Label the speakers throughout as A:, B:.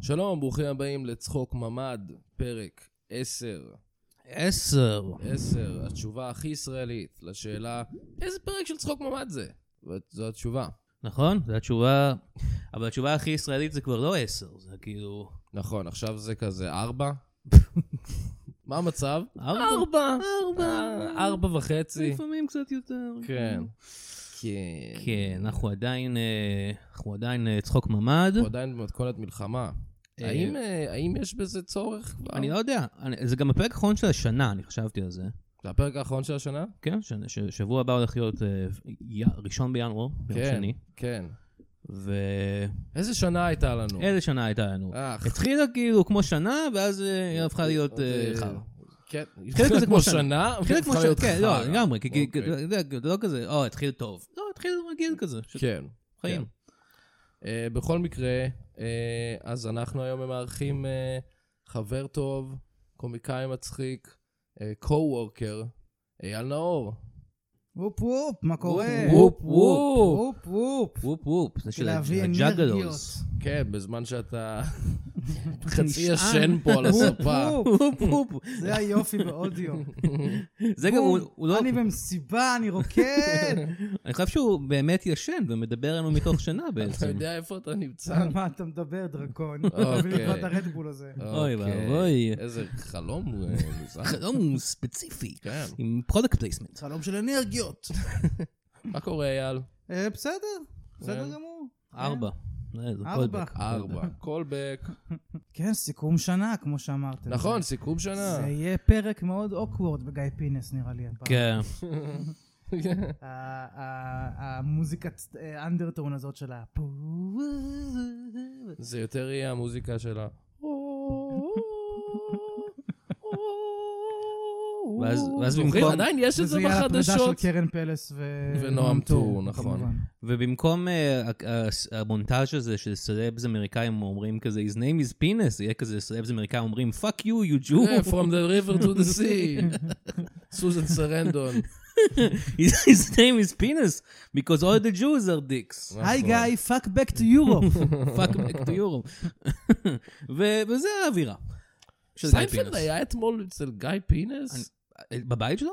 A: שלום, ברוכים הבאים לצחוק ממ"ד, פרק 10.
B: עשר.
A: 10, התשובה הכי ישראלית לשאלה, איזה פרק של צחוק ממ"ד זה? וזו התשובה.
B: נכון? זו התשובה... אבל התשובה הכי ישראלית זה כבר לא עשר, זה כאילו...
A: נכון, עכשיו זה כזה 4? מה המצב?
B: ארבע.
A: ארבע.
B: ארבע.
A: ארבע וחצי.
B: לפעמים קצת יותר.
A: כן. כן.
B: כן, אנחנו עדיין... אה, אנחנו עדיין אה, צחוק ממ"ד.
A: אנחנו עדיין במתכונת מלחמה.
B: אה,
A: האם, אה, האם יש בזה צורך כבר?
B: אני לא יודע, אני- זה גם הפרק האחרון של השנה, אני חשבתי על זה.
A: זה הפרק האחרון של השנה?
B: כן, ש- ש- שבוע הבא הולך להיות אה, י- ראשון בינואר, יום
A: כן.
B: שני.
A: כן.
B: ואיזה
A: איזה שנה הייתה לנו?
B: שנה הייתה לנו?
A: אה,
B: התחילה כאילו כמו שנה, ואז אה, היא הפכה להיות
A: זה-
B: אה, חרא.
A: כן,
B: חלק
A: חלק
B: זה
A: כמו
B: כמו
A: שנה,
B: התחיל כמו
A: והפכה אוקיי, להיות
B: ש... כן, לא,
A: חרא.
B: לגמרי, כי- כי-
A: אוקיי.
B: אתה יודע, זה לא כזה, או, התחיל טוב. לא, התחיל רגיל כזה, של
A: כן.
B: חיים.
A: אה, בכל מקרה, אה, אז אנחנו היום מארחים אה, חבר טוב, קומיקאי מצחיק, קו-וורקר, אייל נאור.
C: וופ וופ, מה קורה?
B: וופ וופ.
C: וופ וופ.
B: וופ וופ, זה של
C: להביא
B: הג'אגלוס.
C: אנרגיות.
A: כן, בזמן שאתה חצי
B: נשען.
A: ישן פה על הספה.
C: וופ וופ.
B: וופ וופ.
C: זה היופי באודיו.
B: זה גם, הוא הוא לא...
C: אני במסיבה, אני רוקד.
B: אני חושב שהוא באמת ישן ומדבר לנו מתוך שנה
A: אתה
B: בעצם.
A: יודע איפה אתה נמצא?
C: על מה אתה מדבר, דרקון?
A: אוקיי.
C: תביא לי כבר את הרדבול הזה.
B: אוי
A: אוקיי.
B: ואבוי.
A: איזה חלום אה, מוזר.
B: חלום ספציפי,
A: כן.
B: עם פרודקט פלייסמנט.
C: חלום של אנרגיות.
A: מה קורה, אייל?
C: אה, בסדר,
A: כן.
C: בסדר גמור.
B: ארבע. אה, זה
C: ארבע.
B: פרודקט.
A: ארבע. קולבק.
C: כן, סיכום שנה, כמו שאמרתם.
A: נכון,
C: זה-
A: סיכום שנה.
C: זה יהיה פרק מאוד אוקוורד בגיא פינס, נראה לי. הפעם.
B: כן.
C: ה- ה- המוזיקת אנדרטון הזאת של ה...
A: זה יותר יהיה המוזיקה שלה.
B: ואז- ואז
A: זוכרים?
B: במקום-
A: עדיין יש את זה
C: וזה יהיה על הפרידה של
A: בחדשות.
C: קרן פלס ו...
A: ונועם טור, נכון.
C: כמובן.
B: ובמקום אה, ה- ה- המונטאז' הזה של סלבס אמריקאים אומרים כזה, his name is penis, זה יהיה כזה סלבס אמריקאים אומרים, fuck you, you
A: Yeah,
B: Jew.
A: "אה, From the river to the sea. סוזן סרנדון.
B: his name is penis, because all the Jews are dicks.
C: היי גיא, פאק בק טו יורופ.
B: fuck back to Europe. ו- וזה האווירה. של גיא
A: סיינפלד
B: פינס.
A: היה אתמול אצל גיא פינס?
B: בבית שלו?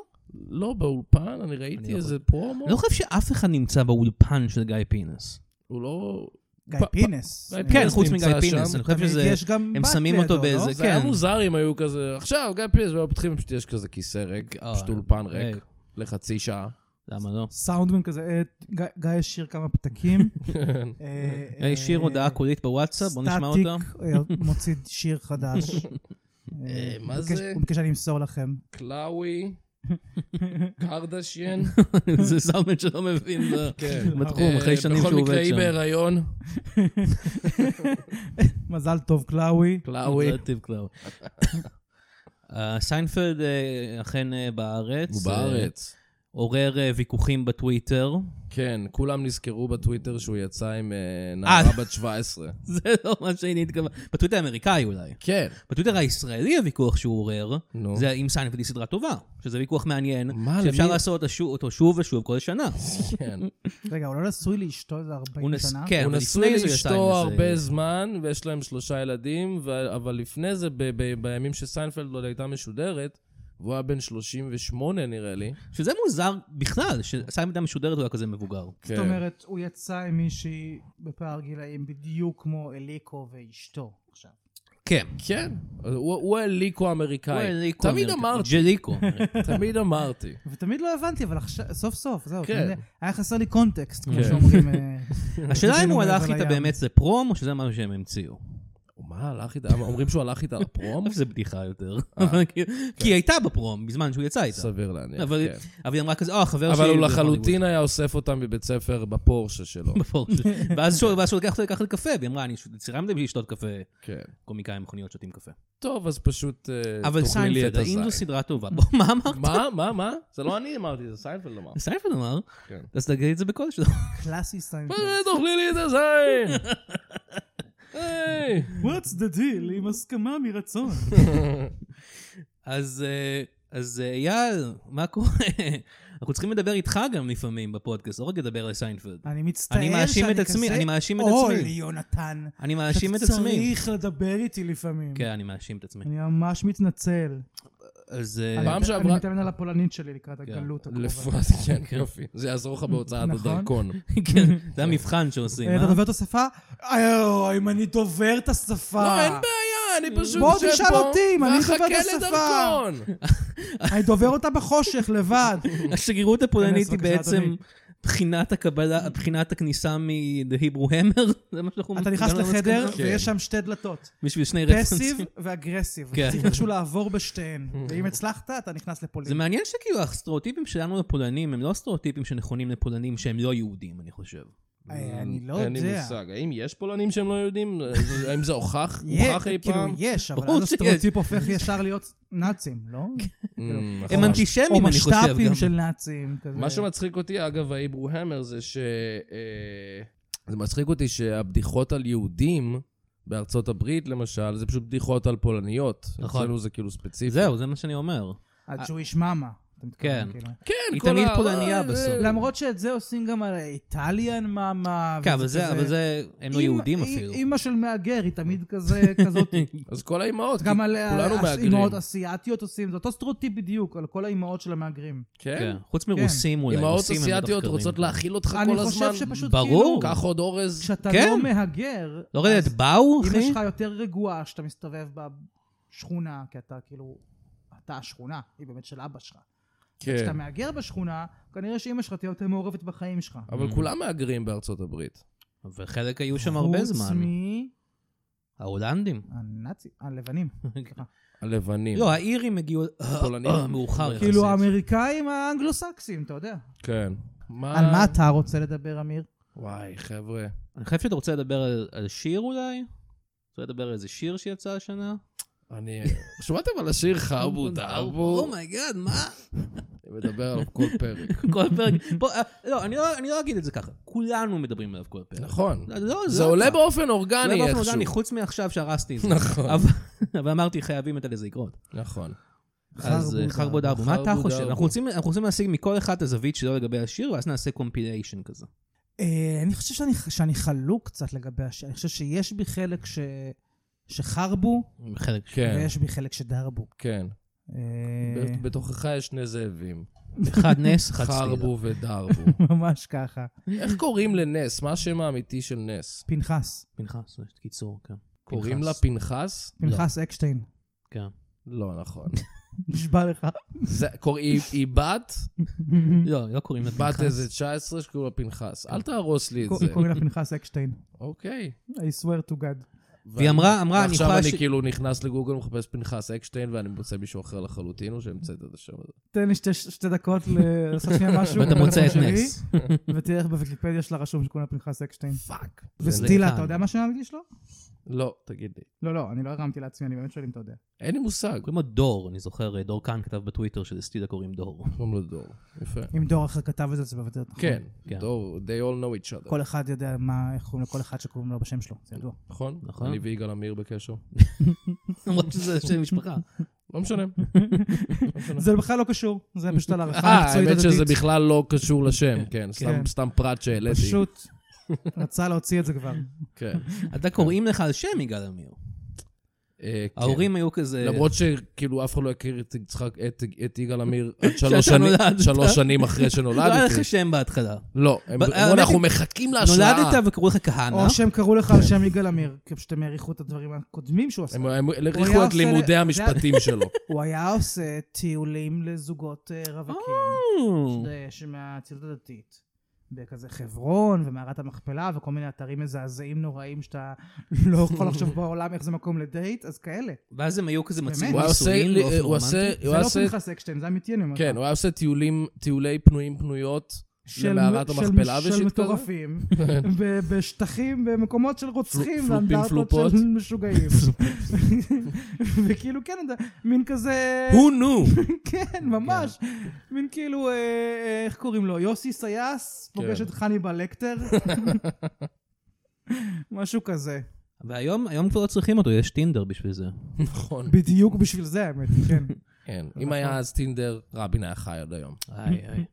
A: לא, באולפן, אני ראיתי
B: יכול-
A: איזה פרומו.
B: אני לא חושב שאף אחד נמצא באולפן של גיא פינס.
A: הוא לא... פ-
C: גיא
A: פ-
C: פינס.
A: גיא
B: כן,
A: פינס
B: חוץ
A: נמצא
B: מגיא פינס,
A: שם.
B: אני חושב
C: תמיד
B: שזה...
C: יש גם
B: הם
C: בת
B: שמים אותו
C: לידו, לא?
B: באיזה-
A: זה היה
B: כן.
A: מוזר אם היו כזה, עכשיו גיא פינס, והיו פותחים פשוט יש כזה כיסא ריק,
B: אה,
A: פשוט אולפן
B: ריק.
A: ריק, לחצי שעה.
B: למה לא?
C: סאונדמן כזה, אה, גיא- גיא השאיר כמה פתקים. אה, אה,
B: השאיר הודעה קולית בוואטסאפ, בוא נשמע אותה.
C: סטטיק אה, מוציא שיר חדש. אה,
A: מה
C: מבקש-
A: זה?
C: הוא מבקש שאני אמסור לכם.
A: קלאווי, אה, קרדשיין.
B: זה סאונדמן שלא מבין ב-
A: כן.
B: בתחום, אחרי
A: אה,
B: שנים שהוא
A: בכל מקרה
B: עובד
A: היא
B: שם.
A: בהיריון.
C: מזל טוב, קלאווי.
A: קלאווי.
B: זה טיפ קלאווי. אה, סיינפלד אה, אכן אה, בארץ.
A: הוא
B: אה,
A: בארץ.
B: עורר אה, ויכוחים בטוויטר.
A: כן, כולם נזכרו בטוויטר שהוא יצא עם אה, נערה בת 17.
B: זה לא מה שאני התכוון. בטוויטר האמריקאי אולי.
A: כן.
B: בטוויטר הישראלי הוויכוח שהוא עורר,
A: נו.
B: זה אם סיינפלד היא סדרה טובה, שזה ויכוח מעניין,
A: מה,
B: שאפשר
A: למי-
B: לעשות אותו שוב- אותו שוב ושוב כל שנה.
A: כן.
C: רגע, הוא לא נשוי לאשתו איזה
B: הוא
C: 40
B: נס...
C: שנה?
B: כן,
A: הוא
B: אבל
A: נשוי
B: לפני זה הוא יצא עם
A: לאשתו
B: איזה-
A: הרבה זמן, ויש להם שלושה ילדים, ו- אבל לפני זה, ב- ב- בימים שסיינפלד עוד הייתה משודרת, והוא היה בן 38 נראה לי.
B: שזה מוזר בכלל, שסיינפלד הייתה משודרת הוא היה כזה מבוגר.
C: זאת אומרת, הוא יצא עם מישהי בפער גילאים בדיוק כמו אליקו ואשתו עכשיו.
B: כן.
A: כן, הוא- הוא הליקו
B: הוא
A: האמריקאי.
B: אליקו
A: תמיד
B: אמריקאי.
A: אמרתי,
B: ג'ליקו. אמריקאי.
A: תמיד אמרתי.
C: ותמיד לא הבנתי, אבל עכשיו, סוף סוף, זהו.
A: כן.
C: תמיד- היה חסר לי קונטקסט, כמו
A: כן.
C: שאומרים. אה,
B: השאלה אם
C: רצינו
B: הוא הלך
C: מעבר
B: איתה
C: לים.
B: באמת לפרום, או שזה משהו שהם המציאו.
A: מה, הלך איתה? אומרים שהוא הלך איתה לפרום?
B: אני חושב שזה בדיחה יותר.
A: אה,
B: אבל כאילו- כי היא הייתה בפרום בזמן שהוא יצא איתה.
A: סביר להניח,
B: אבל
A: כן.
B: אבל היא אמרה כזה, או, החבר שלי...
A: אבל הוא
B: בהוליווד."
A: לחלוטין היה אוסף אותם מבית ספר בפורשה שלו.
B: בפורש. ואז שהוא ואז שהוא לקח אותה לקחת קפה, והיא אמרה, אני צירמתי בשביל לשתות קפה.
A: כן.
B: קומיקאים מכוניות שותים קפה.
A: טוב, אז פשוט אה,
B: אבל
A: תאכלי לי את
B: סיינפלד, האם זו
A: הזין.
B: סדרה טובה? בוא, מה אמרת?
A: מה? מה? מה? זה לא אני אמרתי, זה סיינפלד אמר.
B: סיינפלד אמר,
A: כן.
B: אז תגיד את זה בקול שלו.
C: קלאסי סיינפלד.
A: אה, תאכלי לי את הזין! היי!
C: What's the deal עם הסכמה מרצון?
B: אז אה, אז, אה, אייל, מה קורה? אנחנו צריכים לדבר איתך גם לפעמים בפודקאסט, לא רק לדבר על סיינפלד.
C: אני מצטער
B: אני מאשים את
C: שאני
B: עצמי,
C: כזה
B: אני מאשים את
C: עול,
B: עצמי.
C: יונתן.
B: אני מאשים את עצמי.
C: אתה צריך לדבר איתי לפעמים.
B: כן, אני מאשים את עצמי.
C: אני ממש מתנצל.
B: אז... אה,
C: אני-
A: פעם
C: אני
A: שעברה-
C: מתאמן על הפולנית שלי לקראת
B: כן.
C: הגלות הקרובה.
A: לפרט, כן, יופי. זה יעזור לך בהוצאת
C: נכון.
A: הדרכון. אה,
B: כן, זה המבחן שעושים,
C: אה, אתה
B: אה?
C: דובר את השפה? אה, אם אני דובר את השפה.
A: לא, אין בעיה, אני פשוט
C: בוא
A: יושב
C: תשאל
A: פה
C: אותי אם אני דובר את
A: ואחכה
C: השפה.
A: לדרכון.
C: אני דובר אותה בחושך לבד.
B: השגרירות הפולנית היא
C: בבקשה,
B: בעצם
C: אדוני.
B: בחינת הקבלה, בחינת הכניסה מ-The Hebrew Hammer, זה מה שאנחנו...
C: אתה נכנס
B: הגענו
C: לחדר
B: למסקנה?
A: כן.
C: ויש שם שתי דלתות.
B: בשביל שני
C: פסיב
B: רפרנסים.
C: ואגרסיב.
B: כן.
C: צריך איכשהו לעבור בשתיהן. ואם הצלחת, אתה נכנס
B: זה
C: לפולין.
B: מעניין שכאילו הסטריאוטיפים שלנו לפולנים הם לא סטריאוטיפים שנכונים לפולנים שהם לא יהודים, אני חושב.
C: אה, אני לא
A: אין לי
C: יודע.
A: מושג. האם יש פולנים שהם לא יודעים? האם זה הוכח?
C: יה-
A: הוכח אי
C: כאילו,
A: פעם?
C: יש, אבל
B: ברור
C: אז
B: שיש.
C: הסטריאוטיפ הופך ישר להיות נאצים, לא?
A: Mm,
B: הם
A: נכון.
C: או
B: אנטישמים, אני חושב.
C: משת"פים
B: גם.
C: של נאצים. כזה.
A: מה שמצחיק אותי, אגב, האיברו המר, זה ש... אה, זה מצחיק אותי שהבדיחות על יהודים בארצות הברית, למשל, זה פשוט בדיחות על פולניות.
B: נכון.
A: אצלנו זה כאילו ספציפי.
B: זהו, זה מה שאני אומר.
C: הג'ויש מאמה. אתה מתכוון,
B: אה- כן.
C: כאילו.
A: כן,
B: היא
A: כל
B: תמיד
A: ה-
B: פולניה
A: אה,
B: בסוף.
A: אה,
C: למרות שאת זה עושים גם על האיטליאן מאמה.
B: כן,
C: וזה
B: אבל זה,
C: כזה-
B: אבל זה, הם לא
C: אמא-
B: יהודים
C: אי-
B: אפילו.
C: אימא של מהגר היא תמיד כזה, כזאת.
A: אז כל האימהות,
C: גם
A: כי
C: על
A: כולנו
C: אה,
A: מהגרים.
C: אימהות אסיאתיות עושים, זה אותו סטרוטיפ בדיוק, על כל האימהות של המהגרים.
A: כן.
B: כן, חוץ מרוסים אולי,
A: אימהות
B: רוסים הם
A: אסיאתיות
B: מתחקרים.
A: רוצות להאכיל אותך
C: אני
A: כל
C: חושב
A: הזמן.
C: שפשוט
B: ברור.
C: כאילו,
A: קח עוד אורז.
C: כשאתה
B: כן.
C: לא מהגר,
B: לא יודעת,
C: אז
B: באו,
C: אמא
B: אחי?
C: שלך יותר רגועה כשאתה מסתובב בשכונה, כי אתה כאילו, אתה השכונה, היא באמת של אבא שלך. כשאתה
A: כן.
C: מהגר בשכונה, כנראה שאימא שלך תהיה יותר מעורבת בחיים שלך.
B: Mm.
A: אבל כולם מהגרים בארצות הברית.
B: וחלק היו שם הרבה
C: חוץ
B: זמן.
A: כן.
B: ההולנדים.
C: מהנאצים, הלבנים.
B: כן.
A: הלבנים.
B: לא, האירים הגיעו
A: פולנים.
B: אה, מאוחר יחסית.
C: כאילו האמריקאים האנגלוסקסים, אתה יודע.
A: כן.
B: אה.
A: מה...
C: על מה אתה רוצה לדבר, אמיר?
A: וואי, חבר'ה.
B: אני חושב שאתה רוצה לדבר על- על שיר אולי? רוצה לדבר על איזה שיר שיצא השנה? אני...
A: שמעתם על השיר חרבו דרבו?
B: אומייגאד, מה?
A: אני מדבר עליו כל פרק.
B: כל פרק... בוא, אה, לא, אני לא- אני לא אגיד את זה ככה. כולנו מדברים עליו כל פרק.
A: נכון.
B: לא, לא,
A: זה
B: לא
A: עולה
B: ככה.
A: באופן
B: זה
A: אורגני
B: עולה באופן אורגני,
A: איכשהו.
B: חוץ מעכשיו שהרסתי את זה.
A: נכון.
B: אבל- אבל אמרתי, חייבים לתת לזה לקרות.
A: נכון.
B: אז אה, חרבו דרבו, מה אתה
A: חרבו
B: חושב?
A: דרבו.
B: אנחנו רוצים- אנחנו רוצים להשיג מכל אחד את הזווית שלו לגבי השיר, ואז נעשה קומפיליישן כזה.
C: אה, אני חושב שאני, שאני חלוק קצת לגבי השאלה. אני חושב שיש בי חלק ש, שחרבו,
B: חלק.
A: כן,
C: ויש בי חלק שדרבו.
A: כן.
C: אה,
A: ב- בתוכך יש שני זאבים.
B: אחד נס, אחד סלילה.
A: חרבו ודרבו.
C: אה, ממש ככה.
A: איך קוראים לנס? מה השם האמיתי של נס?
C: פנחס,
B: פנחס, יש קיצור, כן.
A: קוראים
B: פנחס.
A: לה פנחס?
C: פנחס אקשטיין.
B: כן.
A: לא נכון.
C: נשבע לך.
A: זה- קוראים- היא בת,
B: לא, לא קוראים לה
A: בת
B: פנחס.
A: איזה 19 שקוראים לה פנחס. אל תהרוס לי את זה.
C: קור- קוראים לה פנחס אקשטיין.
A: אוקיי.
C: I swear to God.
B: והיא אמרה, אמרה, אני
A: עכשיו
B: יכולה...
A: אני
B: ש-
A: כאילו נכנס לגוגל, מחפש פנחס אקשטיין, ואני מוצא מישהו אחר לחלוטין, או שהמצאת את השם הזה.
C: תן לי שתי, שתי דקות ל- לעשות שנייה משהו.
B: ואתה מוצא את
C: בטלפון שלי,
B: נס.
C: ותראה איך בוויקיפדיה שלה רשום שקוראים לה פנחס אקשטיין.
A: פאק.
C: וסטילה,
B: לכאן.
C: אתה יודע מה שם האמיתי שלו?
A: לא, תגיד לי.
C: לא, לא, אני לא הרמתי לעצמי, אני באמת שואל אם אתה יודע.
A: אין לי מושג.
B: קוראים לו דור, אני זוכר, אה, דור כאן כתב בטוויטר שלסטילה קוראים דור.
A: קוראים לו דור. יפה.
C: אם דור אחר כתב את זה, זה בוודאי. נכון.
A: כן,
B: כן.
A: דור, they all know each other.
C: כל אחד יודע מה, איך קוראים לכל אחד שקוראים לו בשם שלו, זה ידוע.
A: נכון?
B: נכון.
A: אני ויגאל עמיר בקשר.
B: למרות שזה שם משפחה.
C: כן.
A: לא משנה.
C: אה, זה בכלל לא קשור, זה פשוט על הערכה
A: אה,
C: מקצועית
A: האמת שזה
C: הדדית.
A: בכלל לא קשור לשם, כן, סתם-
C: כן.
A: סתם פרט שהעליתי.
C: פשוט רצה להוציא את זה כבר.
A: כן.
B: אתה קוראים לך על שם יגאל עמיר.
A: אה, כן.
B: ההורים היו כזה...
A: למרות שכאילו אף אחד לא יכיר את יצחק- את- את יגאל עמיר עד שלוש
B: שאתה
A: שנים-
B: נולדת.
A: שלוש שנים אחרי
B: לא היה
A: שנולדתי.
B: לך שם בהתחלה.
A: לא, הם-
B: אבל-
A: אמרו, אנחנו מחכים להשראה.
B: נולדת וקראו לך כהנא.
C: או שהם קראו לך על שם יגאל עמיר, כי פשוט הם העריכו את הדברים הקודמים שהוא עשה.
A: כן. הם הם
C: הוא
A: העריכו
C: היה
A: את
C: עושה-
A: לימודי
C: זה-
A: המשפטים שלו.
C: הוא היה עושה טיולים לזוגות אה, רווקים,
B: או.
C: ש- שמהציונות הדתית. בכזה חברון ומערת המכפלה וכל מיני אתרים מזעזעים נוראים שאתה לא יכול לחשוב בעולם איך זה מקום לדייט, אז כאלה.
B: ואז הם לא היו כזה מצבים
C: באמת?
A: הוא היה עושה- אה,
B: נישואים באופן
A: הוא עושה-
B: רומנטי.
A: הוא
C: זה
A: היה
C: לא
A: עושה-
C: פנחס אקשטיין, זה אמיתי אני אומר. לך.
A: כן, הוא היה עושה טיולים- טיולי פנויים פנויות. למערת המכפלה ושיט כזה? כן.
C: של מטורפים, ב- בשטחים, במקומות של רוצחים,
A: פלופים,
C: ואנדרטות
A: פלופות.
C: של משוגעים. וכאילו, כן, אתה- מין כזה...
A: Who knew?
C: כן, ממש. מין כאילו, אה, אה, איך קוראים לו? יוסי סייס פוגש
A: כן.
C: את חניבה לקטר. משהו כזה.
B: והיום היום כבר לא צריכים אותו, יש טינדר בשביל זה.
A: נכון.
C: בדיוק בשביל זה, האמת, כן.
A: כן, אם היה אז טינדר, רבין היה חי עד היום.
B: איי, איי.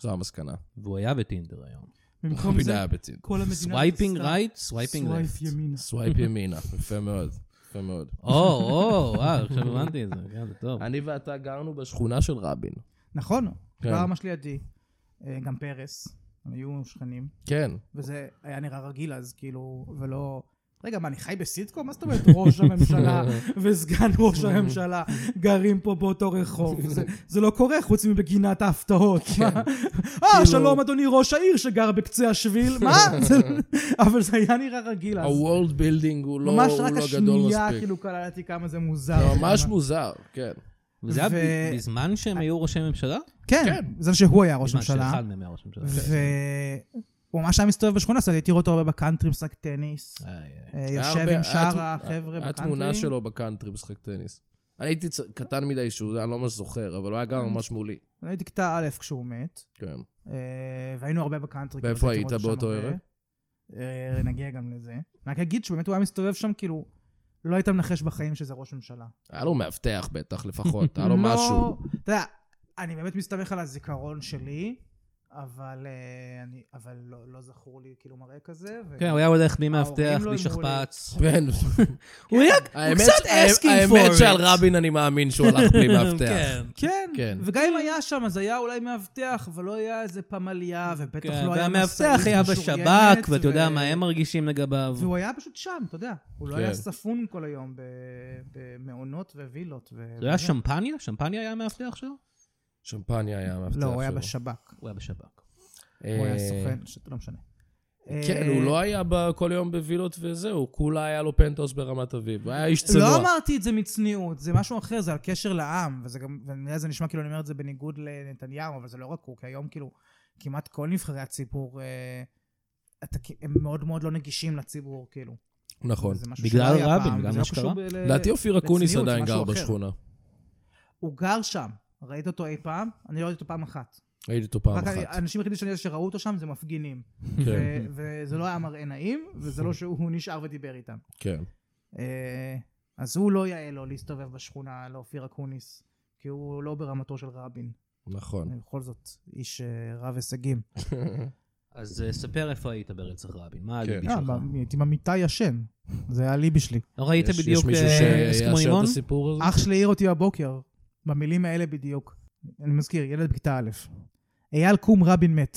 A: זו המסקנה.
B: והוא היה בטינדר היום.
C: במקום
A: רבין
C: זה,
A: היה בטינדר.
C: כל המדינה...
B: סווייפינג
C: עשתה
B: רייט, סווייפינג
C: סווייפ
B: רייט.
C: ימינה.
A: סווייפ ימינה, יפה מאוד. יפה מאוד.
B: או, או, וואו, עכשיו הבנתי את זה, כן, זה טוב.
A: אני ואתה גרנו בשכונה של רבין.
C: נכון,
A: כן.
C: כבר ממש לידי. אה, גם פרס, הם היו שכנים.
A: כן.
C: וזה היה נראה רגיל אז, כאילו, ולא... רגע, מה, אני חי בסיטקום? מה זאת אומרת ראש הממשלה וסגן ראש הממשלה גרים פה באותו רחוב? זה, זה לא קורה חוץ מבגינת ההפתעות.
A: כן.
C: מה?
A: כאילו-
C: אה, שלום, אדוני ראש העיר שגר בקצה השביל, מה? זה- אבל זה היה נראה רגיל אז.
A: ה-world building הוא לא הוא
C: ממש
A: לא
C: רק
A: גדול
C: השנייה,
A: מספיק.
C: כאילו, קלטתי כמה זה מוזר.
A: זה ממש מוזר, כן.
B: וזה היה
C: ו-
B: ב- בזמן שהם היו ראשי ממשלה?
C: כן, זה שהוא היה ראש
B: בזמן
C: ממשלה.
B: שאחד מהם היה ראש ממשלה.
C: והוא ממש היה מסתובב בשכונה, אז הייתי רואה אותו הרבה בקאנטרי משחק טניס.
B: איי, איי.
C: אה,
A: היה
C: יושב
A: הרבה-
C: עם
A: היה
C: שאר
A: תמ-
C: החבר'ה בקאנטרי.
A: התמונה שלו בקאנטרי משחק טניס. אני הייתי צ- קטן מדי שהוא, אני לא ממש זוכר, אבל הוא היה גר ממש מולי.
C: אני הייתי כיתה א' כשהוא מת,
A: כן.
C: אה, והיינו הרבה בקאנטרי.
A: ואיפה
C: כאילו,
A: היית
C: הייתי רואה אותו
A: באותו
C: שם הרבה.
A: ערב?
C: אה, נגיע גם לזה. רק אגיד שבאמת הוא היה מסתובב שם, כאילו, לא היית מנחש בחיים שזה ראש ממשלה.
A: היה לו מאבטח בטח לפחות, היה לו
C: לא-
A: משהו.
C: אתה יודע, אני באמת מסתמך על הזיכרון שלי, אבל אה, אני- אבל לא לא זכור לי כאילו מראה כזה. ו-
B: כן, הוא היה הולך בלי מאבטח,
C: ההורים לא
B: בלי
C: אמרו לי.
B: שחפץ.
A: כן.
B: הוא היה
A: האמת-
B: קצת asking
A: האמת
B: for it.
A: שעל רבין אני מאמין שהוא הלך בלי מאבטח.
B: כן.
C: כן,
A: כן.
C: וגם אם היה שם, אז היה אולי מאבטח, אבל לא היה איזה פמליה, ובטח
B: כן,
C: לא היה
B: והמאבטח היה
C: משוריינת,
B: בשב"כ, ואתה יודע
C: ו-
B: מה הם מרגישים לגביו.
C: והוא היה פשוט שם, אתה יודע. הוא לא
A: כן.
C: היה ספון כל היום ב- במעונות ווילות. ו-
B: זה היה שמפניה? שמפניה היה המאבטח שלו?
A: שמפניה היה המאבטח
C: לא, הוא היה
A: שלו.
C: בשב"כ.
B: הוא היה בשב"כ.
A: אה,
C: הוא היה סוכן, ש- לא משנה.
A: כן,
C: אה,
A: הוא לא היה ב- כל יום בווילות וזהו, כולה היה לו פנטוס ברמת אביב. הוא היה איש צנוע.
C: לא אמרתי את זה מצניעות, זה משהו אחר, זה על קשר לעם, וזה גם, ואני יודע, זה נשמע כאילו אני אומר את זה בניגוד לנתניהו, אבל זה לא רק הוא, כי היום כאילו כמעט כל נבחרי הציבור, אה, אתה, כ- הם מאוד מאוד לא נגישים לציבור, כאילו.
A: נכון.
C: זה משהו
B: בגלל
C: שלא היה
B: רבין,
C: פעם,
B: בגלל
C: וזה
B: מה
C: לא קשור
B: שקרה.
C: ב- ל-
A: לדעתי אופיר אקוניס
C: לצניעות, זה
A: עדיין גר
C: משהו אחר.
A: בשכונה.
C: הוא גר שם, ראית אותו אי פעם? אני לא ראיתי אותו פעם אחת.
A: ראיתי אותו פעם
C: רק
A: אחת.
C: האנשים היחידים שאני יודע שראו אותו שם זה מפגינים.
A: כן,
C: ו- וזה לא היה מראה נעים, וזה לא שהוא נשאר ודיבר איתם.
A: כן.
C: אה, אז הוא לא יאה לו להסתובב בשכונה לאופיר אקוניס, כי הוא לא ברמתו של רבין.
A: נכון.
C: אני בכל זאת איש אה, רב הישגים.
B: אז אה, ספר איפה היית ברצח רבין, מה
A: כן.
B: הליבי
C: אה,
B: שלך?
C: ב- הייתי במיטה ישן, זה היה ליבי שלי.
B: לא ראית
A: יש-
B: בדיוק
A: יש מישהו
B: אה, אסקימו
A: שיאשר
B: רימון?
A: את הסיפור הזה?
C: אח שלי העיר אותי בבוקר, במילים האלה בדיוק. אני מזכיר, ילד בכיתה א'. אייל קום רבין מת.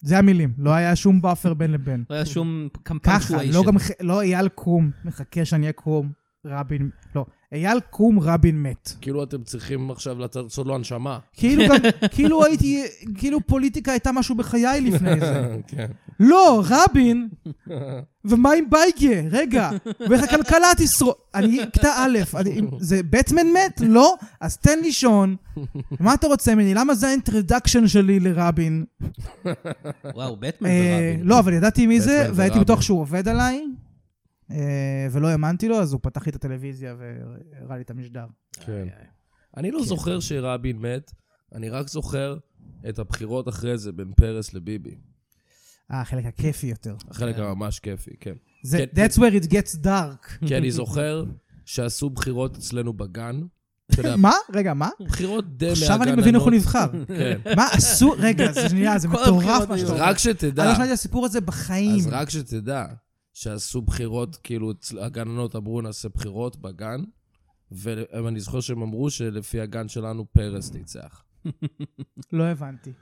C: זה המילים, לא היה שום באפר בין לבין.
B: לא היה שום קמפיין
C: ככה, לא, גם, ח- לא אייל קום, מחכה שאני אהיה קום, רבין, לא, אייל קום רבין מת.
A: כאילו אתם צריכים עכשיו לעשות לו הנשמה.
C: כאילו גם, כאילו הייתי, כאילו פוליטיקה הייתה משהו בחיי לפני זה.
A: כן.
C: לא, רבין, ומה עם בייגה? רגע, ואיך הכלכלה תשרוד? אני כיתה א', אני- זה בטמן מת? לא? אז תן לי שון. מה אתה רוצה ממני? למה זה האינטרדקשן שלי לרבין?
B: וואו, בטמן
C: אה,
B: ורבין.
C: לא, אבל ידעתי מי זה,
A: בטמן זה
C: והייתי
A: רבין.
C: בטוח שהוא עובד עליי, אה, ולא האמנתי לו, אז הוא פתח לי את הטלוויזיה והראה לי את המשדר.
A: כן.
C: אה,
A: אני לא זוכר שרבין מת, אני רק זוכר את הבחירות אחרי זה בין פרס לביבי.
C: אה, החלק הכיפי יותר.
A: החלק הממש כיפי, כן.
C: זה,
A: כן.
C: that's where it gets dark.
A: כי אני זוכר שעשו בחירות אצלנו בגן. אתה יודע,
C: מה? רגע, מה?
A: בחירות די מהגננות.
C: עכשיו אני מבין איך הוא נבחר.
A: כן.
C: מה עשו? רגע, זה שנייה, זה
B: כל
C: מטורף
B: הבחירות
C: מה
B: היו.
C: שאתה
A: אז
C: אומר.
A: רק
C: אני
A: שתדע,
C: לא שמעתי את הסיפור הזה בחיים.
A: אז רק שתדע שעשו בחירות, כאילו אצל- הגננות אמרו נעשה בחירות בגן, ואני זוכר שהם אמרו שלפי הגן שלנו פרס ניצח.
C: לא הבנתי.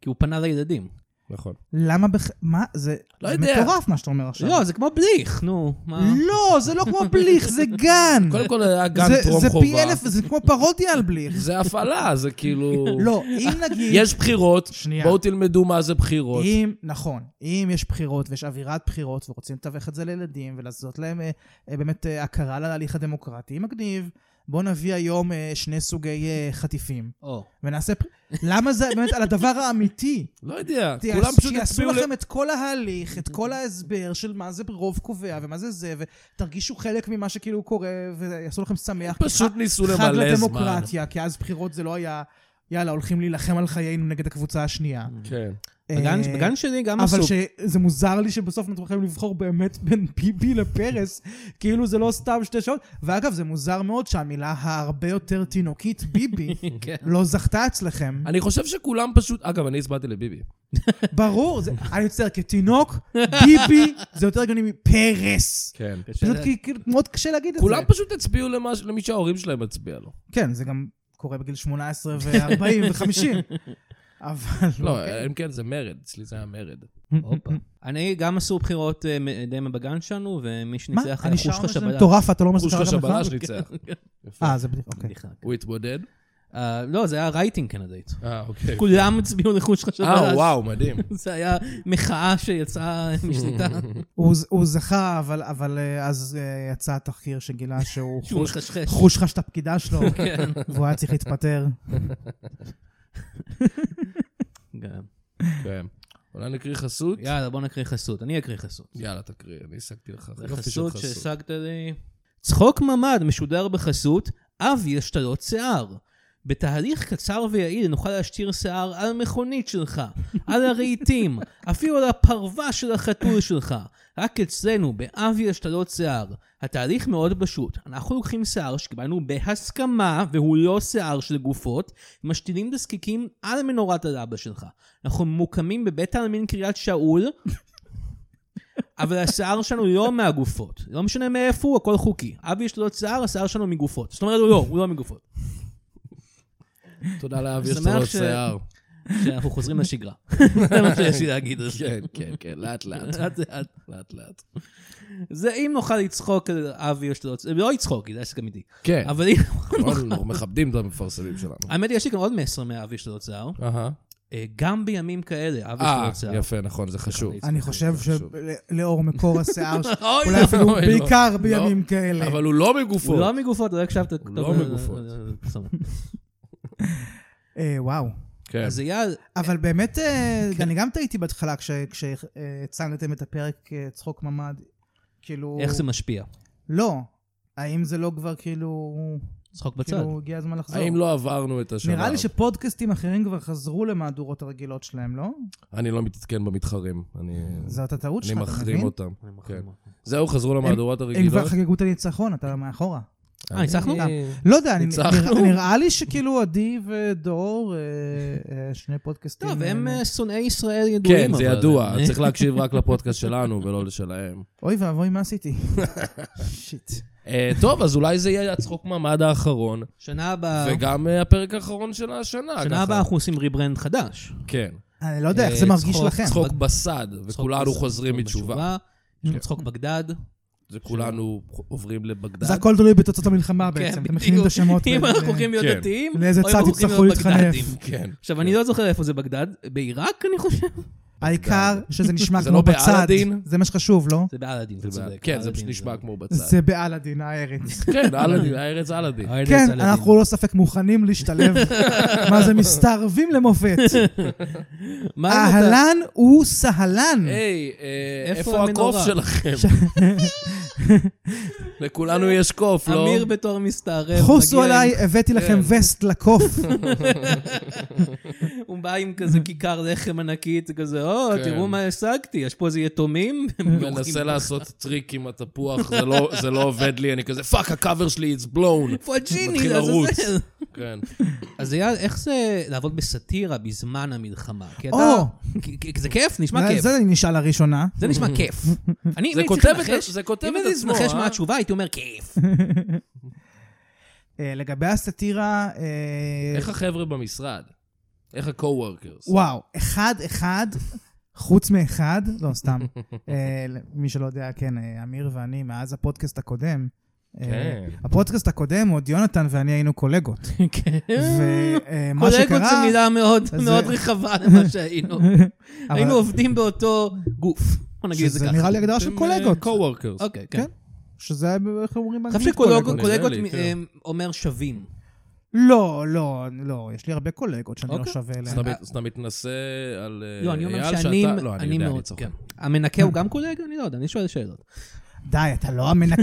B: כי הוא פנה לילדים.
A: נכון.
C: למה בח... מה? זה
A: לא
C: זה
A: יודע.
C: מטורף מה שאתה אומר עכשיו.
B: לא, זה כמו בליך, נו, מה?
C: לא, זה לא כמו בליך, זה גן.
A: קודם כל היה גן
C: זה-
A: טרום
C: זה
A: חובה.
C: פי אלף, זה כמו פרודיה על בליך.
A: זה הפעלה, זה כאילו...
C: לא, אם נגיד...
A: יש בחירות,
C: שנייה.
A: בואו תלמדו מה זה בחירות.
C: אם, נכון, אם יש בחירות ויש אווירת בחירות ורוצים לתווך את זה לילדים ולעשות להם אה, אה, באמת אה, הכרה להליך הדמוקרטי, מגניב. בוא נביא היום אה, שני סוגי אה, חטיפים
B: או.
C: ונעשה... פר- למה זה באמת על הדבר האמיתי?
A: לא יודע,
C: תעש-
A: כולם פשוט
C: שיעשו
A: יצביעו ל...
C: לכם את כל ההליך, את כל ההסבר של מה זה רוב קובע ומה זה זה, ותרגישו חלק ממה שכאילו קורה, ויעשו לכם שמח.
A: פשוט ניסו
C: חג
A: למלא זמן.
C: לדמוקרטיה, כי אז בחירות זה לא היה, יאללה, הולכים להילחם על חיינו נגד הקבוצה השנייה.
A: כן.
B: בגן-
C: אה,
B: בגן שלי גם עשו...
C: אבל שזה מוזר לי שבסוף אנחנו יכולים לבחור באמת בין ביבי לפרס, כאילו זה לא סתם שתי שעות. ואגב, זה מוזר מאוד שהמילה ההרבה יותר תינוקית, ביבי,
B: כן.
C: לא זכתה אצלכם.
A: אני חושב שכולם פשוט... אגב, אני הצבעתי לביבי.
C: ברור, זה- אני מצטער, כתינוק, ביבי, זה יותר הגיוני מפרס.
A: כן.
C: פשוט כי- כאילו, מאוד קשה להגיד את זה.
A: כולם פשוט הצביעו למה- למי שההורים שלהם הצביע לו.
C: כן, זה גם קורה בגיל 18 ו-40 ו-50. אבל...
A: לא,
C: אוקיי.
A: אם כן, זה מרד. אצלי זה היה מרד.
B: הופה. אני גם עשו בחירות אה, מ- די בגן שלנו, ומי
C: מה?
B: שניצח היה
C: אני שר
B: חושך
C: משהו
B: שבלש.
C: מטורף, אתה לא אומר שזה
A: חושך
C: קרה גם לך?
A: שבלש ניצח.
B: אוקיי.
A: יפה.
C: אה, זה בדיוק, אוקיי.
B: בדיחה.
A: הוא התמודד?
B: אה, לא, זה היה רייטינג קנדית.
A: אה, אוקיי.
B: כולם הצביעו לחושך שבלש.
A: אה, וואו, מדהים.
B: זה היה מחאה שיצאה משליטה.
C: הוא ז- הוא זכה, אבל- אבל אה, אז אה, יצא תחקיר שגילה שהוא
B: שהוא מחשחש.
C: חוש חש את הפקידה שלו,
B: כן.
C: והוא היה צריך להתפטר.
B: גם.
A: כן. אולי נקריא חסות?
B: יאללה, בוא נקריא חסות. אני אקריא חסות.
A: יאללה, תקריא, אני השגתי לך. לא
B: זה
A: יופי של
B: חסות שהשגת לי. צחוק ממ"ד משודר בחסות, אב יש תלות שיער. בתהליך קצר ויעיל נוכל להשתיר שיער על המכונית שלך, על הרהיטים, אפילו על הפרווה של החתול שלך. רק אצלנו, באב יש תלות שיער. התהליך מאוד פשוט. אנחנו לוקחים שיער שקיבלנו בהסכמה, והוא לא שיער של גופות, משתילים דזקיקים על מנורת הלבה שלך. אנחנו ממוקמים בבית העלמין קריית שאול, אבל השיער שלנו לא מהגופות. לא משנה מאיפה הוא, הכל חוקי. אבי יש לו שיער, השיער שלנו מגופות. זאת אומרת, הוא לא, הוא לא מגופות.
A: תודה לאבי, יש
B: שמח
A: לו עוד
B: ש-
A: שיער.
B: שאנחנו חוזרים לשגרה. זה מה שיש לי להגיד על זה.
A: כן, כן, כן, לאט לאט.
B: לאט לאט.
A: לאט לאט.
B: זה אם נוכל לצחוק על אבי יש לו... לא יצחוק, כי זה עסק אמיתי.
A: כן,
B: אבל אם...
A: נכון, אנחנו מכבדים את המפרסמים שלנו.
B: האמת היא, יש לי כאן עוד מסר מאבי יש לו שיער.
A: אהה.
B: אה, גם בימים כאלה, אבי
A: אה,
B: יש לו שיער.
A: יפה, נכון, זה חשוב.
B: ככה
C: אני חושב שלאור מקור השיער, ש-
B: אוי,
C: אולי אפילו
A: אוי, לא.
C: בעיקר בימים כאלה.
A: אבל הוא לא
B: הוא
A: מגופות.
B: לא מגופות, לא הקשבת.
A: הוא
B: טוב,
A: לא
B: אה,
A: מגופות.
B: אה, בסדר.
C: אה, וואו.
A: כן.
B: אז אייל,
C: אבל באמת, אה, אני גם טעיתי בהתחלה כשהצלנתם את הפרק אה, צחוק ממ"ד, כאילו...
B: איך זה משפיע?
C: לא. האם זה לא כבר כאילו...
B: צחוק בצד.
C: כאילו הגיע הזמן לחזור?
A: האם לא עברנו את השלב?
C: נראה לי שפודקאסטים אחרים כבר חזרו למהדורות הרגילות שלהם, לא?
A: אני לא מתעדכן במתחרים. אני
C: זאת הטעות
A: אני
C: שלך, אתה
A: מחרים
C: מבין?
A: אותם. כן. זהו, חזרו למהדורות
C: הם כבר
A: הרגילות.
C: חגגו את הניצחון, אתה מאחורה.
B: אה, ניצחנו?
A: אני-
C: לא יודע, אני-
A: ניצחנו.
C: נראה- נראה לי שכאילו עדי ודור, אה, אה, שני פודקאסטים.
B: טוב, הם
C: אה,
B: אה, שונאי ישראל ידועים.
A: כן, זה
B: אבל-
A: ידוע.
B: אה,
A: צריך להקשיב רק לפודקאסט שלנו ולא לשלהם.
C: אוי ואבוי, מה עשיתי? שיט.
A: אה, טוב, אז אולי זה יהיה הצחוק מעמד האחרון,
B: שנה הבאה,
A: וגם אה, הפרק האחרון של השנה.
B: שנה
A: ככה.
B: הבאה אנחנו עושים ריברנד חדש.
A: כן.
C: אני לא יודע איך
B: אה,
C: זה מרגיש
B: צחוק,
C: לכם.
A: צחוק בסד,
B: צחוק
A: וכולנו
B: בצד,
A: חוזרים
B: צחוק
A: בתשובה.
B: בתשובה, יש
C: כן.
B: לנו צחוק בגדד.
A: וכולנו עוברים
C: זה
A: לבגדד.
C: הכל תלוי בתוצאות המלחמה בעצם, אתם מכינים את השמות.
B: כן, אם
C: ו-
B: אנחנו
C: ו-
B: הולכים להיות
A: כן.
B: דתיים,
C: לאיזה
B: או אם
C: צד
B: אנחנו הולכים
C: תצטרכו
B: להיות
C: להתחנף.
B: בגדדים.
A: כן.
B: עכשיו, אני לא זוכר איפה זה בגדד, בעיראק אני חושב?
C: העיקר שזה נשמע
A: זה
C: כמו
A: לא
C: בצד.
A: באלאדין?
C: זה מה שחשוב, לא?
B: זה באלאדין, אתה צודק.
A: כן, זה
B: באלאדין
A: פשוט נשמע כמו בצד.
C: זה באלאדין, הארץ.
A: כן, אלאדין, הארץ אלאדין.
B: הארץ
C: כן,
B: אלאדין.
C: אנחנו לא ספק מוכנים להשתלב. מה זה, מסתערבים למופת.
B: מה עם אותה-
C: אהלן הוא סהלן.
A: היי, אה,
B: איפה
A: איפה הקוף
B: המנורה?
A: שלכם? לכולנו יש קוף, לא?
B: אמיר בתור מסתערב.
C: חוסו
B: מגיע
C: עליי, הבאתי
B: כן.
C: לכם וסט לקוף.
B: עם- הוא בא עם כזה כיכר לחם ענקית, זה כזה, או,
A: כן.
B: תראו מה השגתי, יש פה איזה יתומים.
A: מנסה לעשות טריק עם התפוח, זה לא- זה לא עובד לי, אני כזה, פאק, הקאבר שלי, it's blown.
B: פואג'יני,
A: מתחיל לרוץ.
B: לעזאזל.
A: כן.
B: אז אייל, איך זה לעבוד בסאטירה בזמן המלחמה? כי אתה...
C: או.
B: כי- כי- כי זה כיף, נשמע
C: זה
B: כיף.
C: זה אני נשאל הראשונה.
B: זה נשמע כיף. אני, אם
A: זה
B: הייתי
A: כותב
B: צריך
A: את-
B: לנחש-
A: זה כותב את
B: אם הייתי
A: עצמו,
B: צריך לנחש
A: אה?
B: מה התשובה, הייתי אומר כיף.
C: אה, לגבי הסאטירה, אה,
A: איך החבר'ה במשרד? איך ה-co-workers?
C: וואו, אחד-אחד, חוץ מאחד, לא, סתם. אה, מי שלא יודע, כן, אה, אמיר ואני, מאז הפודקאסט הקודם, אה,
A: כן.
C: הפודקאסט הקודם, עוד יונתן ואני היינו קולגות. ומה
B: אה, קולגות זו
C: שקרה,
B: מילה מאוד
C: אז
B: מאוד
C: זה-
B: רחבה למה שהיינו.
C: אבל-
B: היינו עובדים באותו גוף. בוא נגיד את זה
C: שזה
B: ככה.
C: נראה לי הגדרה של קולגות.
A: אה, co-workers.
B: אוקיי, כן.
C: כן. שזה, איך אומרים?
B: אני חושב
C: באנגלית
A: קולגות.
B: שקולגות
A: נראה לי, כן.
B: אה,
A: אה,
B: אומר שווים.
C: לא, לא, לא, יש לי הרבה קולגות שאני לא
B: אוקיי.
C: שווה
A: אז
C: אליהן.
A: אתה מת- אז אתה מתנשא על אה, אייל שאתה...
B: לא, אני אומר שאני
A: לא, אני
B: אני
A: יודע,
B: מאוד...
A: אני צוחק.
B: כן. המנקה הוא גם קולגה? אני לא יודע, אני שואל שאלות.
C: די, אתה לא המנקה.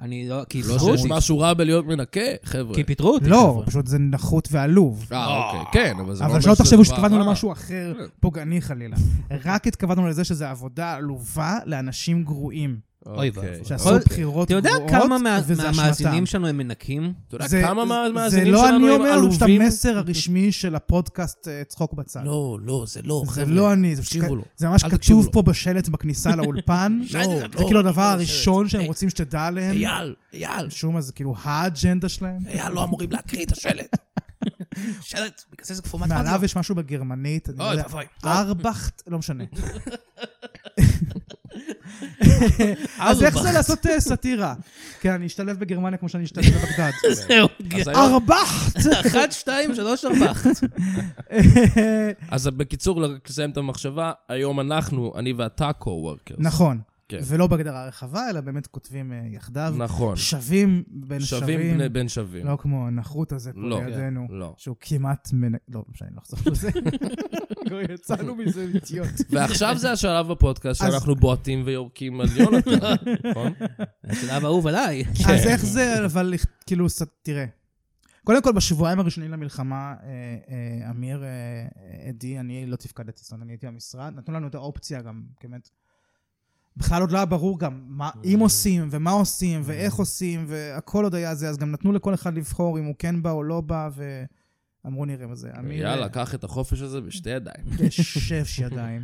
B: אני לא... כי
A: לא
B: פיטרו
A: שיש
B: אותי.
A: משהו רע בלהיות מנקה, חבר'ה.
B: כי פיטרו אותי.
C: לא,
B: חבר'ה.
C: פשוט זה נחות ועלוב.
A: אה, אוקיי, כן, אבל זה לא
C: אבל
A: אומר
C: שלא
A: שזה
C: תחשבו
A: דבר
C: שהתכוונו
A: רע. כן.
C: למשהו אחר פוגעני חלילה. רק התכוונו לזה שזו עבודה עלובה לאנשים גרועים.
B: אוי
A: אוקיי.
B: ואבוי.
C: שעשו
B: אבל-
C: בחירות
B: אתה יודע
C: גרועות,
B: כמה מה-
C: וזה אשמתם.
B: מהמאזינים שלנו הם מנקים?
A: אתה יודע
C: זה-
A: כמה
C: זה-
A: מהמאזינים
C: זה
A: שלנו
C: לא
A: הם
C: אני אומר, זה פשוט
A: עלובים?
C: המסר הרשמי של הפודקאסט אה, צחוק בצד.
A: לא, לא, זה לא,
C: זה
A: חבר'ה.
C: לא אני, זה
A: תקשיבו
C: פשוט-
A: לו.
C: זה ממש
A: אל תקשיבו
C: כתוב
A: לו.
C: פה בשלט בכניסה לאולפן.
A: לא,
C: זה
A: לא,
C: כאילו הדבר
A: לא,
C: הראשון
A: זה-
C: שהם
A: אה,
C: רוצים שתדע עליהם.
A: אייל, אייל,
C: משום מה זה כאילו האג'נדה שלהם.
A: אייל, לא אמורים להקריא את השלט.
B: שלט, בגלל זה זה פורמט
A: לא.
C: מעליו יש משהו בגרמנית, אני לא
B: אוי
C: יודע,
B: ואבוי.
C: ארבכט, לא משנה. אז איך זה לעשות אה, סאטירה? כן, אני אשתלב בגרמניה כמו שאני אשתלב בבגדד.
B: זהו.
A: אז היום-
C: ארבכט!
B: אחת, שתיים, שלוש, ארבע.
C: אה,
A: אז בקיצור, רק לסיים את המחשבה, היום אנחנו, אני ואתה co-workers.
C: נכון.
A: כן.
C: ולא בהגדרה רחבה, אלא באמת כותבים אה, יחדיו.
A: נכון.
C: שווים בין
A: שווים
C: שווים.
A: בני- בין שווים.
C: לא כמו הנחות הזה פה
A: לא,
C: לידינו.
A: לא.
C: שהוא כמעט מנ... לא, משנה, אני לא אחזור לזה. כבר יצאנו מזה אידיוט.
A: ועכשיו זה השלב בפודקאסט
C: אז-
A: שאנחנו בועטים ויורקים על יונתן, נכון?
B: השלב האהוב עליי.
C: אז איך זה, אבל כאילו, ס- תראה. קודם כל, בשבועיים הראשונים למלחמה, אה, אה, אמיר, אה, אה, עדי, אני לא תפקדתי, זאת אומרת, אני הייתי במשרד. נתנו לנו את האופציה גם, באמת. בכלל עוד לא היה ברור גם מה, אם עושים, ומה עושים, ואיך עושים, והכל עוד היה זה, אז גם נתנו לכל אחד לבחור אם הוא כן בא או לא בא, ואמרו נראה מה זה. אמיר,
A: יאללה, קח את החופש הזה בשתי ידיים.
C: שש ידיים.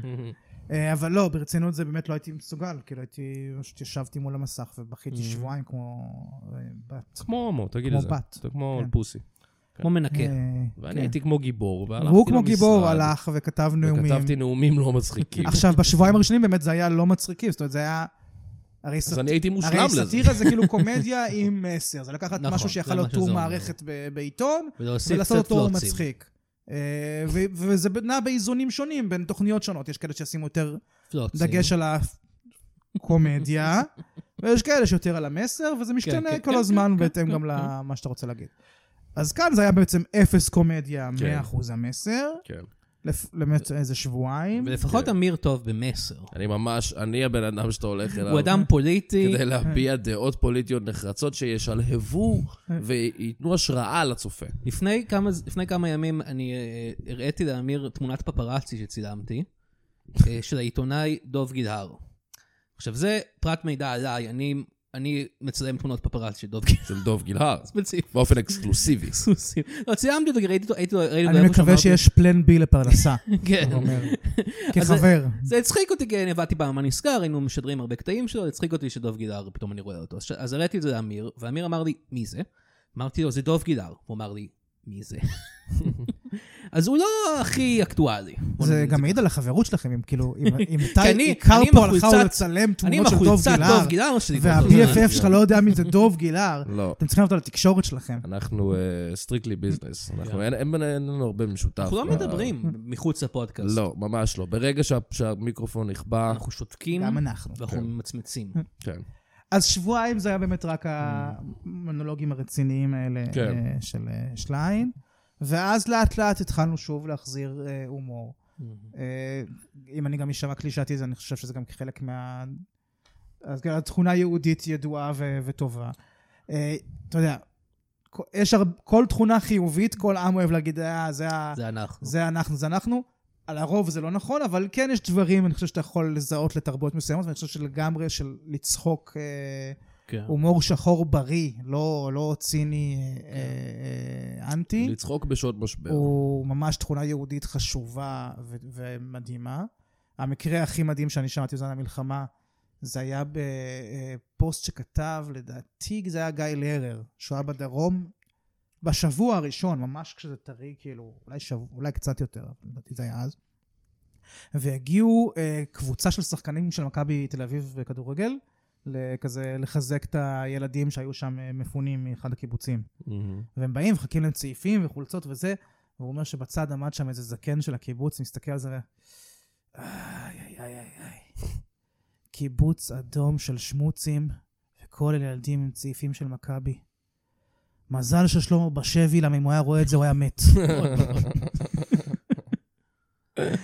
C: אה, אבל לא, ברצינות זה באמת לא הייתי מסוגל, כאילו הייתי, פשוט ישבתי מול המסך ובכיתי שבועיים כמו אה, בת.
A: כמו הומו, תגיד
C: כמו
A: את זה.
C: בת.
A: אתה כמו
C: כן.
A: פוסי.
B: כמו מנקה.
C: אה,
A: ואני
C: כן.
A: הייתי כמו גיבור, והלכתי
C: והוא כמו גיבור
A: למשרד,
C: הלך וכתב נאומים.
A: וכתבתי נאומים לא מצחיקים.
C: עכשיו, בשבועיים הראשונים באמת זה היה לא מצחיקים, זאת אומרת, זה היה... הרי
A: אז
C: סאט-
A: אני הייתי מושלם
C: הרי
A: לזה.
C: סאטירה זה כאילו קומדיה עם מסר. זה לקחת
B: נכון,
C: משהו
B: זה
C: שיכל
B: מה
C: להיות
B: שזה
C: טור
B: אומר.
C: מערכת ב- בעיתון,
B: ולהוסיף
C: ולעשות
B: קצת
C: אותו
B: פלוצים.
C: מצחיק. אה, ו- וזה נע באיזונים שונים בין תוכניות שונות. יש כאלה שישימו יותר
B: פלוצים.
C: דגש על הקומדיה, ויש כאלה שיותר על המסר, וזה משתנה
B: כן,
C: כל
B: כן,
C: הזמן בהתאם גם למה שאתה רוצה להגיד. אז כאן זה היה בעצם אפס קומדיה,
B: כן.
C: 100% המסר,
A: כן.
C: לפ- באמת איזה שבועיים.
B: ולפחות
A: כן.
B: אמיר טוב במסר.
A: אני ממש, אני הבן אדם שאתה הולך אליו.
B: הוא אדם פוליטי.
A: כדי
C: כן.
A: להביע דעות פוליטיות נחרצות שישלהבו וייתנו השראה לצופה.
B: לפני כמה, לפני כמה ימים אני אה, הראיתי לאמיר תמונת פפרצי שצילמתי, אה, של העיתונאי דוב גידהר. עכשיו, זה פרט מידע עליי, אני, אני מצלם תמונות פפרצי של דוב גידהר
A: של דוב גילהר,
B: ספציפית.
A: באופן אקסקלוסיבי.
B: סוסים. לא, צילמתי אותו, כי ראיתי אותו, ראיתי אותו, ראיתי אותו
C: אני
B: איפה
C: מקווה
B: שאמרתי-
C: שיש פלן בי לפרנסה,
B: כן.
C: הוא אומר,
B: אז זה-
C: כחבר.
B: זה הצחיק אותי, כי אני עבדתי פעם נסגר, היינו משדרים הרבה קטעים שלו, הצחיק אותי שדוב גידר, פתאום אני רואה אותו. אז ש- אז הראיתי את זה לאמיר, ואמיר אמר לי, מי זה? אמרתי לו, זה דוב גידר. הוא אמר לי, מי זה? אז הוא לא הכי אקטואלי. בוא
C: זה
B: נגיד את
C: גם מעיד על החברות שלכם, אם כאילו, אם- אם
B: כי
C: איתי
B: אני-
C: עיקר
B: אני עם
C: פה הלכה
B: החולצת-
C: לצלם
B: אני עם
C: תמונות של דוב
B: החולצת
C: גילהר,
B: דוב גידר שלי.
C: וה-BFF שלך לא יודע מי זה דוב גילהר,
A: לא.
C: אתם צריכים לעלות על התקשורת שלכם.
A: אנחנו סטריקלי ביזנס,
C: כן.
A: אנחנו אין- אין בינינו אין לנו הרבה משותף.
B: אנחנו לא
A: ב-
B: מדברים מחוץ לפודקאסט.
A: אה, לא, ממש לא. ברגע שה- שהמיקרופון נכבה,
B: אנחנו שותקים,
C: גם אנחנו.
B: ואנחנו
A: כן.
B: ממצמצים.
A: כן.
C: אז שבועיים זה היה באמת רק המונולוגים הרציניים האלה
A: כן.
C: אה, של אה, שליין, ואז לאט לאט התחלנו שוב להחזיר אה, הומור. אה, אם אני גם אשמע קלישאתי, אז אני חושב שזה גם חלק מה... אז גם התכונה יהודית ידועה ו- וטובה. אה, אתה יודע, כל- יש הר... כל תכונה חיובית, כל עם אוהב להגיד, "אה, זה, ה...
B: זה נכון." אנחנו.
C: זה אנחנו, זה אנחנו. על הרוב זה לא נכון, אבל כן יש דברים, אני חושב שאתה יכול לזהות לתרבות מסוימות, ואני חושב שלגמרי של לצחוק אה,
B: כן.
C: הומור שחור בריא, לא, לא ציני אה, אה, אה, אנטי.
A: לצחוק בשעות משבר.
C: הוא ממש תכונה יהודית חשובה ו- ומדהימה. המקרה הכי מדהים שאני שמעתי בזמן המלחמה, זה היה בפוסט שכתב, לדעתי זה היה גיא לרר, שהוא היה בדרום בשבוע הראשון, ממש כשזה טרי, כאילו, אולי, שבוע, אולי קצת יותר, אבל לדעתי זה היה אז. והגיעו אה, קבוצה של שחקנים של מכבי תל אביב בכדורגל, לכזה לחזק את הילדים שהיו שם אה, מפונים מאחד הקיבוצים.
A: מהמם.
C: והם באים ומחכים להם צעיפים וחולצות וזה, והוא אומר שבצד עמד שם איזה זקן של הקיבוץ, מסתכל על זה ו... איי, איי, איי, איי, איי. קיבוץ אדום של שמוצים, וכל אלה ילדים עם צעיפים של מכבי. מזל ששלמה בשבי, למה אם הוא היה רואה את זה הוא היה מת.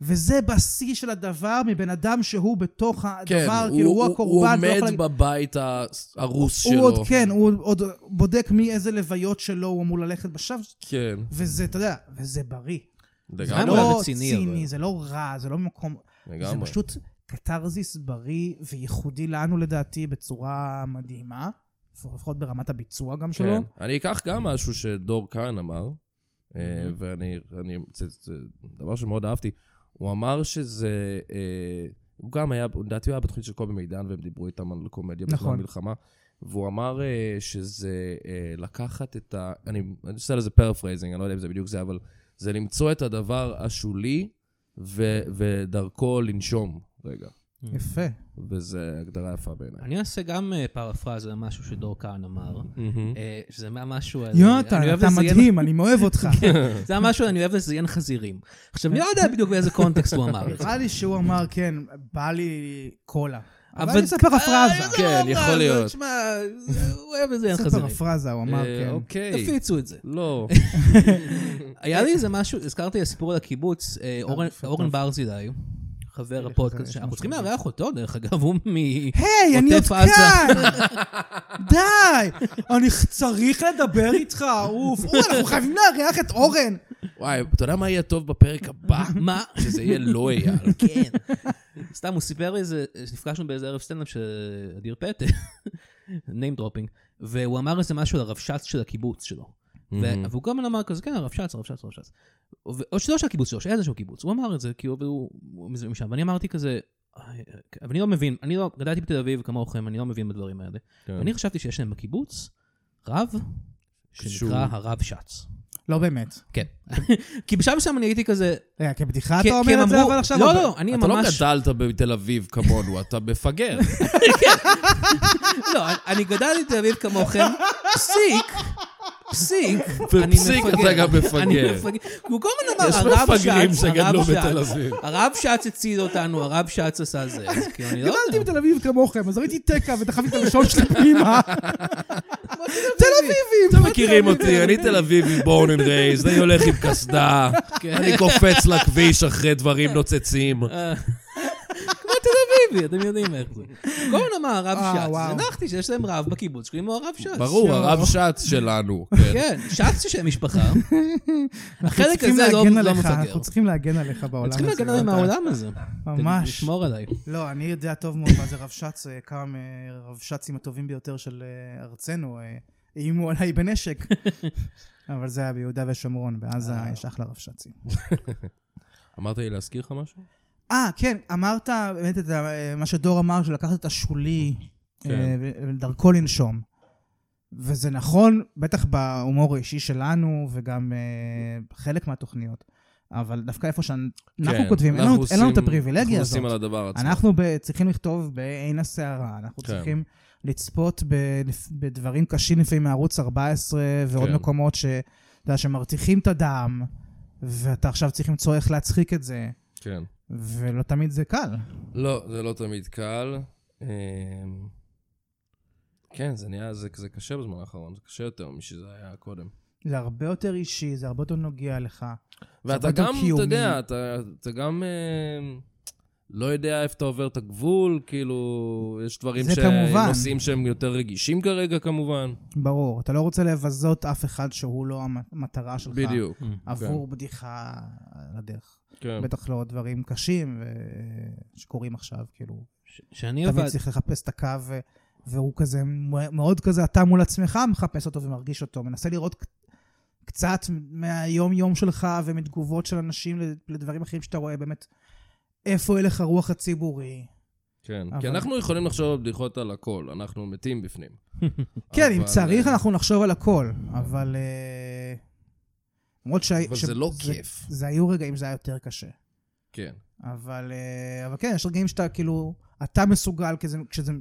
C: וזה בשיא של הדבר מבן אדם שהוא בתוך
A: כן,
C: הדבר, כאילו הוא, הקורבן.
A: הוא
C: לא יכול
A: עומד
C: להגיד-
A: בבית ההרוס שלו.
C: הוא עוד, כן, הוא עוד בודק מי איזה לוויות שלו הוא אמור ללכת בשב,
A: כן,
C: וזה, אתה יודע, וזה בריא.
B: מה
C: זה
A: לגמרי,
B: אמרה?
C: לא
B: רציני, אבל.
C: ציני, זה לא רע, זה לא ממקום... זה
A: לגמרי.
C: פשוט קתרזיס בריא וייחודי לנו לדעתי בצורה מדהימה, לפחות ברמת הביצוע גם שלו.
A: כן. אני אקח גם משהו שדור כהן אמר, אה, ואני, אני, זה, זה דבר שמאוד אהבתי. הוא אמר שזה, אה, הוא גם היה, לדעתי הוא היה בתוכנית של קובי מידן, והם דיברו איתם על קומדיה בזמן
C: נכון.
A: המלחמה. והוא אמר אה, שזה אה, לקחת את ה... אני אני עושה לזה פרפרייזינג, אני לא יודע אם זה בדיוק זה, אבל זה למצוא את הדבר השולי ו, ודרכו לנשום רגע.
C: יפה.
A: וזו הגדרה יפה בעיניי.
B: Mm. אני אעשה גם אה, פרפרזה למשהו שדור כהן אמר. אה, שזה מה- משהו... על-
C: יונתן,
B: אני אוהב
C: אתה
B: לזיין-
C: מדהים, אני אוהב אותך.
A: כן.
B: זה היה משהו, אני אוהב לזיין חזירים. עכשיו, אני לא יודע בדיוק באיזה קונטקסט הוא אמר את זה.
C: נראה לי שהוא אמר, כן, בא לי קולה. אבל
B: אבל-
C: אני אעשה פרפרזה.
A: כן,
B: אה, לא,
A: יכול
B: אבל
A: להיות.
B: תשמע, הוא אוהב לזיין
C: אעשה
B: חזירים.
C: פרפרזה, הוא אמר,
A: אה,
C: כן.
A: אוקיי.
B: תפיצו את זה.
A: לא.
B: היה לי איזה משהו, הזכרתי הסיפור על הקיבוץ, אה, אורן-
C: יפה,
B: אורן
C: טוב.
B: ברזילי, חבר
C: חבר,
B: הפודקאסט,
C: יש
B: שאנחנו
C: משהו
B: צריכים
C: להגיד.
B: לארח אותו, דרך אגב, הוא מ...
C: היי, אני עוד
B: עוטף עזה.
C: כאן! די! אני צריך לדבר איתך, עוף. אורן, אנחנו חייבים לארח את אורן.
A: וואי, אתה יודע מה יהיה טוב בפרק הבא?
B: מה?
A: שזה יהיה לא אייל.
B: כן. סתם, הוא סיפר לי איזה, נפגשנו באיזה ערב סטנדאפ של אדיר פטר, name dropping, והוא אמר איזה משהו על הרבש"ץ של הקיבוץ שלו. ו- והוא גם אמר כזה, כן, הרבש"ץ, הרבש"ץ, הרבש"ץ. ו- או שלא של הקיבוץ שלו, של איזשהו קיבוץ. הוא אמר את זה, כאילו, והוא הוא מזה- משם. ואני אמרתי כזה, "אה, אבל אני לא מבין, אני לא, גדלתי בתל אביב כמוכם, אני לא מבין בדברים האלה. ואני חשבתי שיש להם בקיבוץ רב,
A: שהוא-
B: שנקרא הרבש"ץ.
C: לא באמת.
B: כן. כי בשלב מסוים אני הייתי כזה,
C: רגע, כבדיחה
B: כי
C: אתה
B: כי הם
C: אומר את זה,
B: אמרו-
C: אבל עכשיו...
B: לא, לא, אני ממש...
A: אתה לא גדלת בתל אביב כמונו, אתה מפגר.
B: לא, אני גדלתי בתל אביב כמוכם, פסיק, פסיק, אני
A: ופסיק אתה גם מפגר.
B: אני מפגר. הוא כל הזמן
A: יש
B: אמר, הרב
A: מפגרים
B: שץ,
A: שגדלו
B: הרב
A: בתל
B: שץ,
A: אביב."
B: הרב שץ הציל אותנו, הרב שץ עשה זה. אז כאילו, אני לא
C: גדלתי
B: יודע.
C: בתל אביב כמוכם, אז ראיתי תקע ודחפתי את הלשון שלי פנימה. תל אביבים!
A: אתם מכירים אותי, אני תל אביבי בורן אנד רייז, אני הולך עם קסדה,
B: כן.
A: אני קופץ לכביש אחרי דברים נוצצים.
B: אה, כמו תל אביבי, אתם יודעים איך זה. כל הזמן אמר הרב
C: אה,
B: שץ,
C: וואו.
B: הנחתי שיש להם רב בקיבוץ, שקוראים לו הרב שץ.
A: ברור,
C: יואו.
A: הרב שץ שלנו. כן.
B: כן, שץ זה שם משפחה.
C: אנחנו
B: החלק
C: צריכים
B: הזה לא-
C: להגן
B: לא
C: עליך,
B: מפגר.
C: אנחנו צריכים להגן עליך בעולם הזה.
B: צריכים להגן עליהם
C: לא אתה.
B: מהעולם הזה.
C: ממש.
B: תשמור עליי.
C: לא, אני יודע טוב מאוד מה זה רבש"ץ, אה, כמה מהרבש"צים הטובים ביותר של אה, ארצנו אה, איימו עליי בנשק. אבל זה היה ביהודה ושומרון, בעזה
B: אה.
C: יש אחלה רבש"צים.
A: אמרת לי להזכיר לך משהו?
C: אה, כן, אמרת באמת את ה- אה, מה שדור אמר, של לקחת את השולי,
A: כן.
C: אה, ו- ודרכו לנשום. וזה נכון, בטח בהומור האישי שלנו, וגם אה, חלק מהתוכניות. אבל דווקא איפה שאנחנו
A: כן,
C: כותבים, אין
A: אנחנו
C: לנו- אין לנו את
A: עושים-
C: הפריבילגיה הזאת.
A: אנחנו עושים על הדבר עצמו.
C: אנחנו ב- צריכים לכתוב בעין הסערה, אנחנו
A: כן.
C: צריכים לצפות ב- בדברים קשים לפעמים מערוץ 14 ועוד
A: כן.
C: מקומות ש- אתה יודע, שמרתיחים את הדם, ואתה עכשיו צריך למצוא איך להצחיק את זה,
A: כן.
C: ולא תמיד זה קל.
A: לא, זה לא תמיד קל. אמ, כן, זה נהיה, זה זה קשה בזמן האחרון, זה קשה יותר משזה היה קודם.
C: זה הרבה יותר אישי, זה הרבה יותר נוגע לך.
A: ואתה
C: הרבה יותר
A: גם, אתה
C: קיומי.
A: יודע, אתה, אתה גם אה, לא יודע איפה אתה עובר את הגבול, כאילו, יש דברים
C: זה
A: ש...
C: כמובן.
A: נושאים שהם יותר רגישים כרגע, כמובן.
C: ברור, אתה לא רוצה לבזות אף אחד שהוא לא המ- המטרה שלך.
A: בדיוק,
C: עבור בדיחה על הדרך.
A: כן.
C: בטח לא דברים קשים ו- שקורים עכשיו, כאילו.
B: ש- שאני
C: תמיד
B: עבד...
C: צריך לחפש את הקו, ו- והוא כזה, מ- מאוד כזה, אתה מול עצמך מחפש אותו ומרגיש אותו, מנסה לראות ק- קצת מהיום-יום שלך ומתגובות של אנשים ל- לדברים אחרים שאתה רואה, באמת, איפה הלך הרוח הציבורי.
A: כן. כי
C: אבל-
A: אנחנו יכולים לחשוב על בדיחות על הכל, אנחנו מתים בפנים.
C: כן, אם
A: אבל,
C: צריך,
A: אה,
C: אנחנו נחשוב על הכל, אבל... אה, למרות שה-
A: אבל
C: ש...
A: זה לא
C: זה-
A: כיף.
C: זה היו רגעים שזה היה יותר קשה.
A: כן.
C: אבל, אה, אבל כן, יש רגעים שאתה כאילו, אתה מסוגל, כזה, כשזה,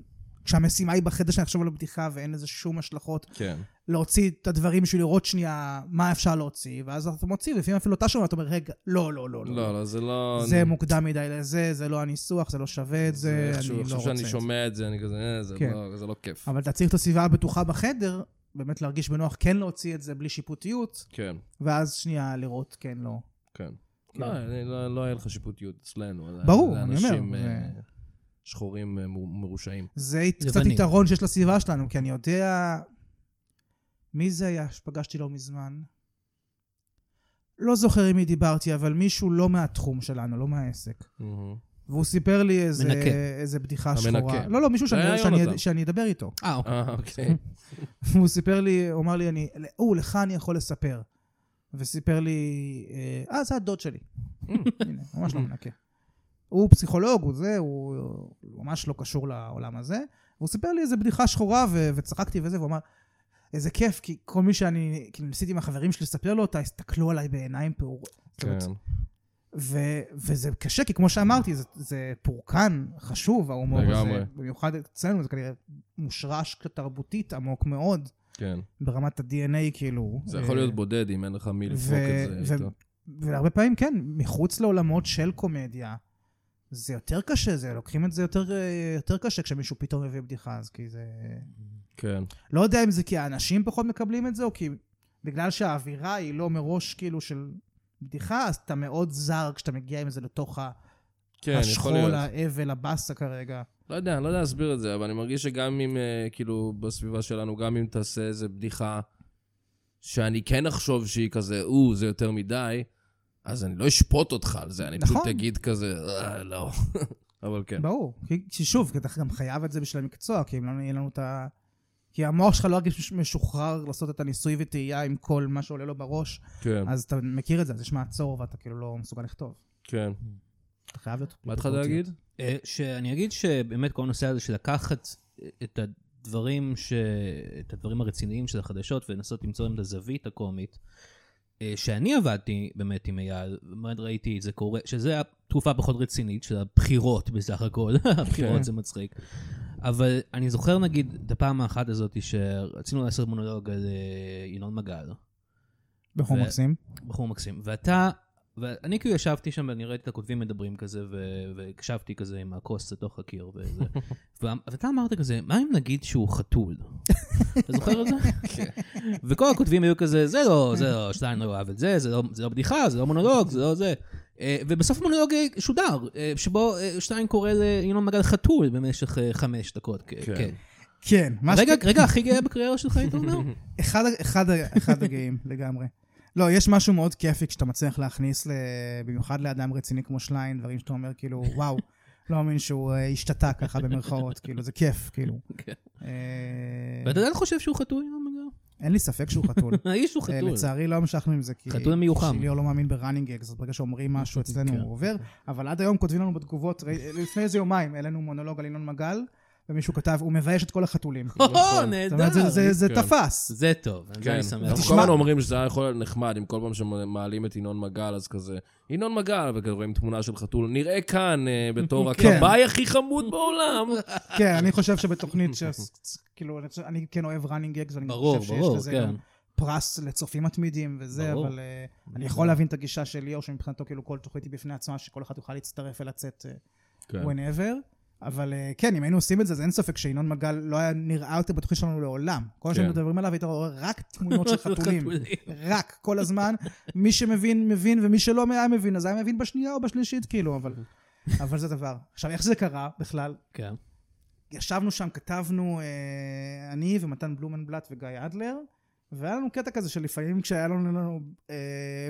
C: כשהמשימה היא בחדר שאני אחשוב על הבדיחה ואין לזה שום השלכות
A: כן.
C: להוציא את הדברים בשביל לראות שנייה מה אפשר להוציא, ואז אתה מוציא, ולפעמים אפילו אתה שומע, אתה אומר, רגע, לא, לא, לא, לא.
A: לא, לא, זה לא...
C: זה מוקדם מדי לזה, זה לא הניסוח, זה לא שווה את זה,
A: איכשהו-
C: אני לא
A: עכשיו
C: רוצה את
A: שאני
C: זה.
A: שומע את זה, אני כזה, אה, זה
C: כן.
A: לא- זה לא כיף.
C: אבל אתה צריך את הסביבה הבטוחה בחדר, באמת להרגיש בנוח כן להוציא את זה בלי שיפוטיות,
A: כן,
C: ואז שנייה לראות כן, לא.
A: כן. לא, אני- לא לא היה לך שיפוטיות אצלנו. אלא-
C: ברור,
A: אלא
C: אני אומר,
A: אנשים,
C: זה-
A: אה, שחורים אה, מור- מרושעים.
C: זה הת- קצת
B: לבנים.
C: יתרון שיש לסביבה שלנו, כי אני יודע... מי זה היה שפגשתי לא מזמן? לא זוכר עם מי דיברתי, אבל מישהו לא מהתחום שלנו, לא מהעסק. והוא סיפר לי איזה,
B: מנקה.
C: איזה בדיחה
A: המנקה.
C: שחורה. לא, לא, מישהו
A: זה
C: שאני,
A: היה
C: שאני,
A: יונתן.
C: שאני אדבר איתו.
B: אה, אוקיי.
A: אה, אוקיי.
C: הוא סיפר לי, הוא אמר לי, אני, או, לך אני יכול לספר. וסיפר לי, אה, "אה, זה הדוד שלי. הנה, ממש לא מנקה. הוא פסיכולוג, הוא זה, הוא הוא ממש לא קשור לעולם הזה. והוא סיפר לי איזה בדיחה שחורה, ו- וצחקתי וזה, והוא אמר, איזה כיף, כי כל מי שאני, כאילו, ניסיתי עם החברים שלי לספר לו אותה, הסתכלו עליי בעיניים פעורות.
A: כן.
C: ו- וזה קשה, כי כמו שאמרתי, זה, זה פורקן חשוב, ההומור
A: לגמרי.
C: הזה. במיוחד אצלנו, זה כנראה מושרש תרבותית עמוק מאוד,
A: כן.
C: ברמת ה-DNA, כאילו.
A: זה
C: אה,
A: יכול להיות בודד אם אין לך מי לפרוק
C: ו-
A: את זה
C: ו-
A: איתו.
C: והרבה פעמים, כן, מחוץ לעולמות של קומדיה, זה יותר קשה, זה לוקחים את זה יותר, אה, יותר קשה כשמישהו פתאום מביא בדיחה, אז כי זה...
A: כן.
C: לא יודע אם זה כי האנשים פחות מקבלים את זה, או כי בגלל שהאווירה היא לא מראש, כאילו, של בדיחה, אז אתה מאוד זר כשאתה מגיע עם זה לתוך ה...
A: כן, יכול
C: השכול,
A: להיות.
C: האבל, הבאסה כרגע.
A: לא יודע, אני לא יודע להסביר את זה, אבל אני מרגיש שגם אם, אה, כאילו, בסביבה שלנו, גם אם תעשה איזה בדיחה שאני כן אחשוב שהיא כזה, או, זה יותר מדי, אז אני לא אשפוט אותך על זה, אני פשוט
C: נכון.
A: אגיד כזה, "אה, לא. אבל כן.
C: ברור. כי- כי שוב, כי אתה גם חייב את זה בשביל המקצוע, כי אם לא יהיה לנו את ה... כי המוח שלך לא ירגיש מש- משוחרר לעשות את הניסוי וטעייה עם כל מה שעולה לו בראש,
A: כן,
C: אז אתה מכיר את זה, אז יש מעצור ואתה כאילו לא מסוגל לכתוב.
A: כן.
C: אתה חייב להיות...
A: מה התחלת להגיד?
B: אה, שאני אגיד שבאמת כל הנושא הזה של לקחת אה, את הדברים, ש... את הדברים הרציניים של החדשות ולנסות למצוא להם את הזווית הקומית, אה, שאני עבדתי באמת עם אייל, באמת ראיתי את זה קורה, שזה התקופה הפחות רצינית של הבחירות בסך הכל, הבחירות זה מצחיק. אבל אני זוכר נגיד את הפעם האחת הזאת שרצינו לעשות מונולוג על אה, ינון מגל.
C: בחור
B: ו-
C: מקסים.
B: בחור מקסים. ואתה, ואני כאילו ישבתי שם ואני ראיתי את הכותבים מדברים כזה, ו- והקשבתי כזה עם הכוס לתוך הקיר וזה. ו- ואתה אמרת כזה, מה אם נגיד שהוא חתול? אתה זוכר את זה? וכל הכותבים היו כזה, זה לא, זה לא, שטיין לא אהב את זה, זה לא, זה לא בדיחה, זה לא מונולוג, זה לא זה. אה, ובסוף מונולוג אה, שודר, אה, שבו אה, שטיין קורא לינון מגל חתול במשך אה, חמש דקות. כ-
A: כן.
B: כן.
C: כן, מה ש-
B: רגע, רגע הכי גאה בקריירה שלך, היית אומר?
C: אחד, אחד, אחד הגאים לגמרי. לא, יש משהו מאוד כיפי כשאתה מצליח להכניס, ל... במיוחד לאדם רציני כמו שליין, דברים שאתה אומר כאילו, וואו, לא מאמין שהוא אה, השתתה ככה במרכאות, כאילו, זה כיף, כאילו.
B: כן.
C: אה,
B: ואתה עדיין חושב שהוא חתול, ינון מגל?
C: אין לי ספק שהוא חתול.
B: האיש הוא
C: אה,
B: חתול.
C: לצערי לא המשכנו עם זה, כי...
B: חתול מיוחם.
C: שליאור לא מאמין בראנינג אקס, אז ברגע שאומרים משהו אצלנו
B: כן.
C: הוא עובר, אבל עד היום כותבים לנו בתגובות, ראי- לפני איזה יומיים העלינו מונולוג על ינון מגל, ומישהו כתב, הוא מבייש את כל החתולים. זאת
B: או,
A: נכון.
B: נהדר.
C: אומרת, זה- זה- זה
A: כן.
C: תפס.
B: זה טוב, על זה
A: כן,
B: אני שמח.
A: אנחנו
C: תשמע-
A: כל הזמן אומרים שזה היה יכול להיות נחמד, אם כל פעם שמעלים את ינון מגל, אז כזה, ינון מגל, וכזה רואים תמונה של חתול, נראה כאן אה, בתור
C: כן.
A: הכבאי הכי חמוד בעולם.
C: כן, אני חושב שבתוכנית ש... כאילו, אני חושב- אני כן אוהב ראנינג אקס, ואני
B: ברור,
C: חושב שיש
B: ברור,
C: לזה
B: כן.
C: גם פרס לצופים מתמידים וזה,
B: ברור.
C: אבל אה, אני יכול להבין את הגישה של ליאור, שמבחינתו כאילו כל תוכנית היא בפני עצמה, שכל אחד יוכל להצטרף ולצאת אה,
A: כן.
C: whenever. אבל אה, כן, אם היינו עושים את זה, אז אין ספק שינון מגל לא היה נראה יותר בתוכנית שלנו לעולם. כל מה
A: כן.
C: שאנחנו מדברים עליו, היית רואה רק תמונות של חתולים.
B: לא חתולים.
C: רק, כל הזמן. מי שמבין, מבין, ומי שלא היה מבין, אז היה מבין בשנייה או בשלישית, כאילו, אבל... אבל זה דבר. עכשיו, איך זה קרה בכלל?
B: כן.
C: ישבנו שם, כתבנו, אה, אני ומתן בלומנבלט וגיא אדלר, והיה לנו קטע כזה שלפעמים כשהיה לנו, לנו אה,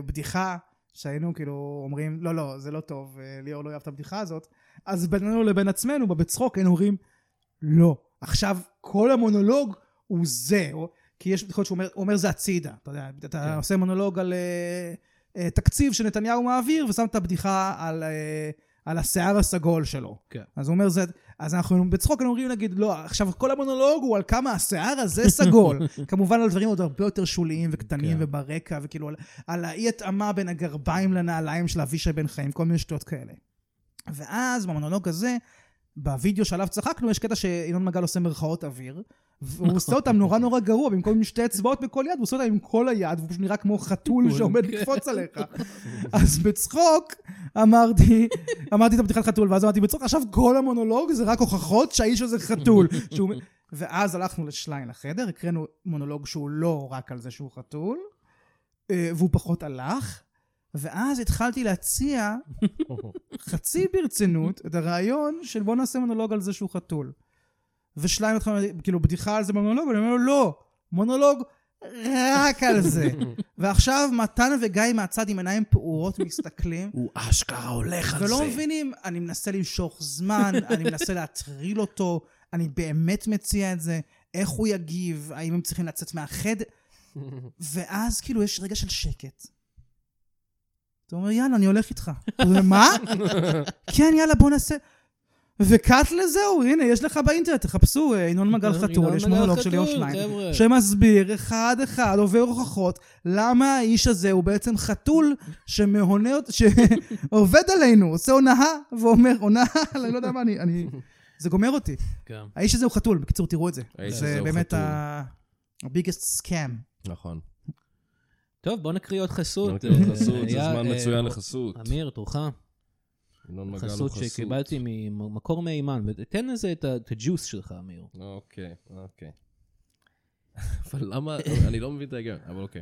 C: בדיחה, שהיינו כאילו אומרים, לא, לא, זה לא טוב, אה, ליאור לא יאהב את הבדיחה הזאת, אז בינינו לבין עצמנו, בצחוק, היינו אומרים, לא, עכשיו כל המונולוג הוא זה, או, כי יש בדיחות שהוא אומר, הוא אומר זה הצידה, אתה יודע, אתה
B: כן.
C: עושה מונולוג על אה, אה, תקציב שנתניהו מעביר, ושם את הבדיחה על, אה, על השיער הסגול שלו.
B: כן.
C: אז הוא אומר זה, אז אנחנו בצחוק אנחנו אומרים, נגיד, לא, עכשיו כל המונולוג הוא על כמה השיער הזה סגול. כמובן על דברים עוד הרבה יותר שוליים וקטנים
B: כן.
C: וברקע, וכאילו על, על האי התאמה בין הגרביים לנעליים של אבישי בן חיים, כל מיני שטויות כאלה. ואז במונולוג הזה, בווידאו שעליו צחקנו, יש קטע שינון מגל עושה מרכאות אוויר, והוא עושה אותם נורא נורא גרוע, במקום עם שתי אצבעות בכל יד, הוא עושה אותם עם כל היד, והוא פשוט נראה כמו חתול שעומד לקפוץ עליך. אז בצחוק אמרתי, אמרתי את הבדיחת חתול, ואז אמרתי בצחוק, עכשיו כל המונולוג זה רק הוכחות שהאיש הזה חתול. שהוא... ואז הלכנו לשליין לחדר, הקראנו מונולוג שהוא לא רק על זה שהוא חתול, אה, והוא פחות הלך, ואז התחלתי להציע, חצי ברצינות, את הרעיון של בוא נעשה מונולוג על זה שהוא חתול. ושליים התחלנו, כאילו, בדיחה על זה במונולוג, ואני אומר לו, לא, מונולוג רק על זה. ועכשיו מתן וגיא מהצד עם עיניים פעורות מסתכלים,
A: הוא אשכרה הולך על
C: ולא
A: זה.
C: מבינים, אני מנסה למשוך זמן, אני מנסה להטריל אותו, אני באמת מציע את זה, איך הוא יגיב, האם הם צריכים לצאת מהחדר, ואז כאילו יש רגע של שקט. אתה אומר, יאללה, אני הולך איתך. הוא אומר, מה? כן, יאללה, בוא נעשה... וקאט לזהו, הנה, יש לך באינטרנט, תחפשו אה, ינון מגל
B: לא,
C: חתול, יש מונולוג של ליאור שניים. שמסביר אחד-אחד, עובר הוכחות, למה האיש הזה הוא בעצם חתול שמהונה, אות- שעובד עלינו, עושה הונאה, ואומר, הונאה, אני לא יודע מה, אני... אני... זה גומר אותי.
B: כן.
C: האיש הזה הוא חתול, בקיצור, תראו את זה.
A: האיש הזה
C: זה
A: הוא
C: באמת
A: חתול.
C: ה... הביגסט סקאם.
A: נכון.
B: טוב, בוא נקריא עוד חסות.
A: נותן לו
B: אה,
A: אוקיי, חסות, זה
B: היה,
A: זמן
B: אה,
A: מצוין לחסות.
B: אמיר, תורך.
A: ינון מגל הוא
B: חסות
A: חסות.
B: שקיבלתי ממקור מהימן. ותן לזה את ה- את הג'וס שלך, אמיר.
A: אוקיי, אוקיי. אבל למה, אני לא מבין את ההיגיון, אבל אוקיי.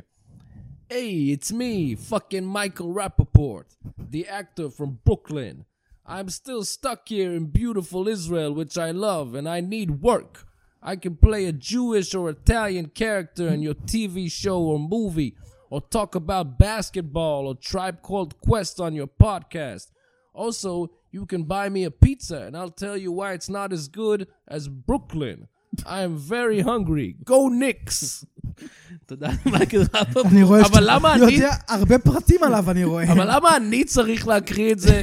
A: היי, it's me, fucking מייקל רפפורט, the actor from Brooklyn. I'm still stuck here in beautiful Israel, which I love, and I need work. I can play a Jewish or Italian character in your TV show or movie, or talk about basketball or Tribe Called Quest on your podcast. Also, you can buy me a pizza, and I'll tell you why it's not as good as Brooklyn. I am very hungry. Go Knicks!
B: תודה למייקל רפפורט.
C: אני רואה
A: אבל למה אני-
C: יודע הרבה פרטים עליו, אני רואה.
A: אבל למה אני צריך להקריא את זה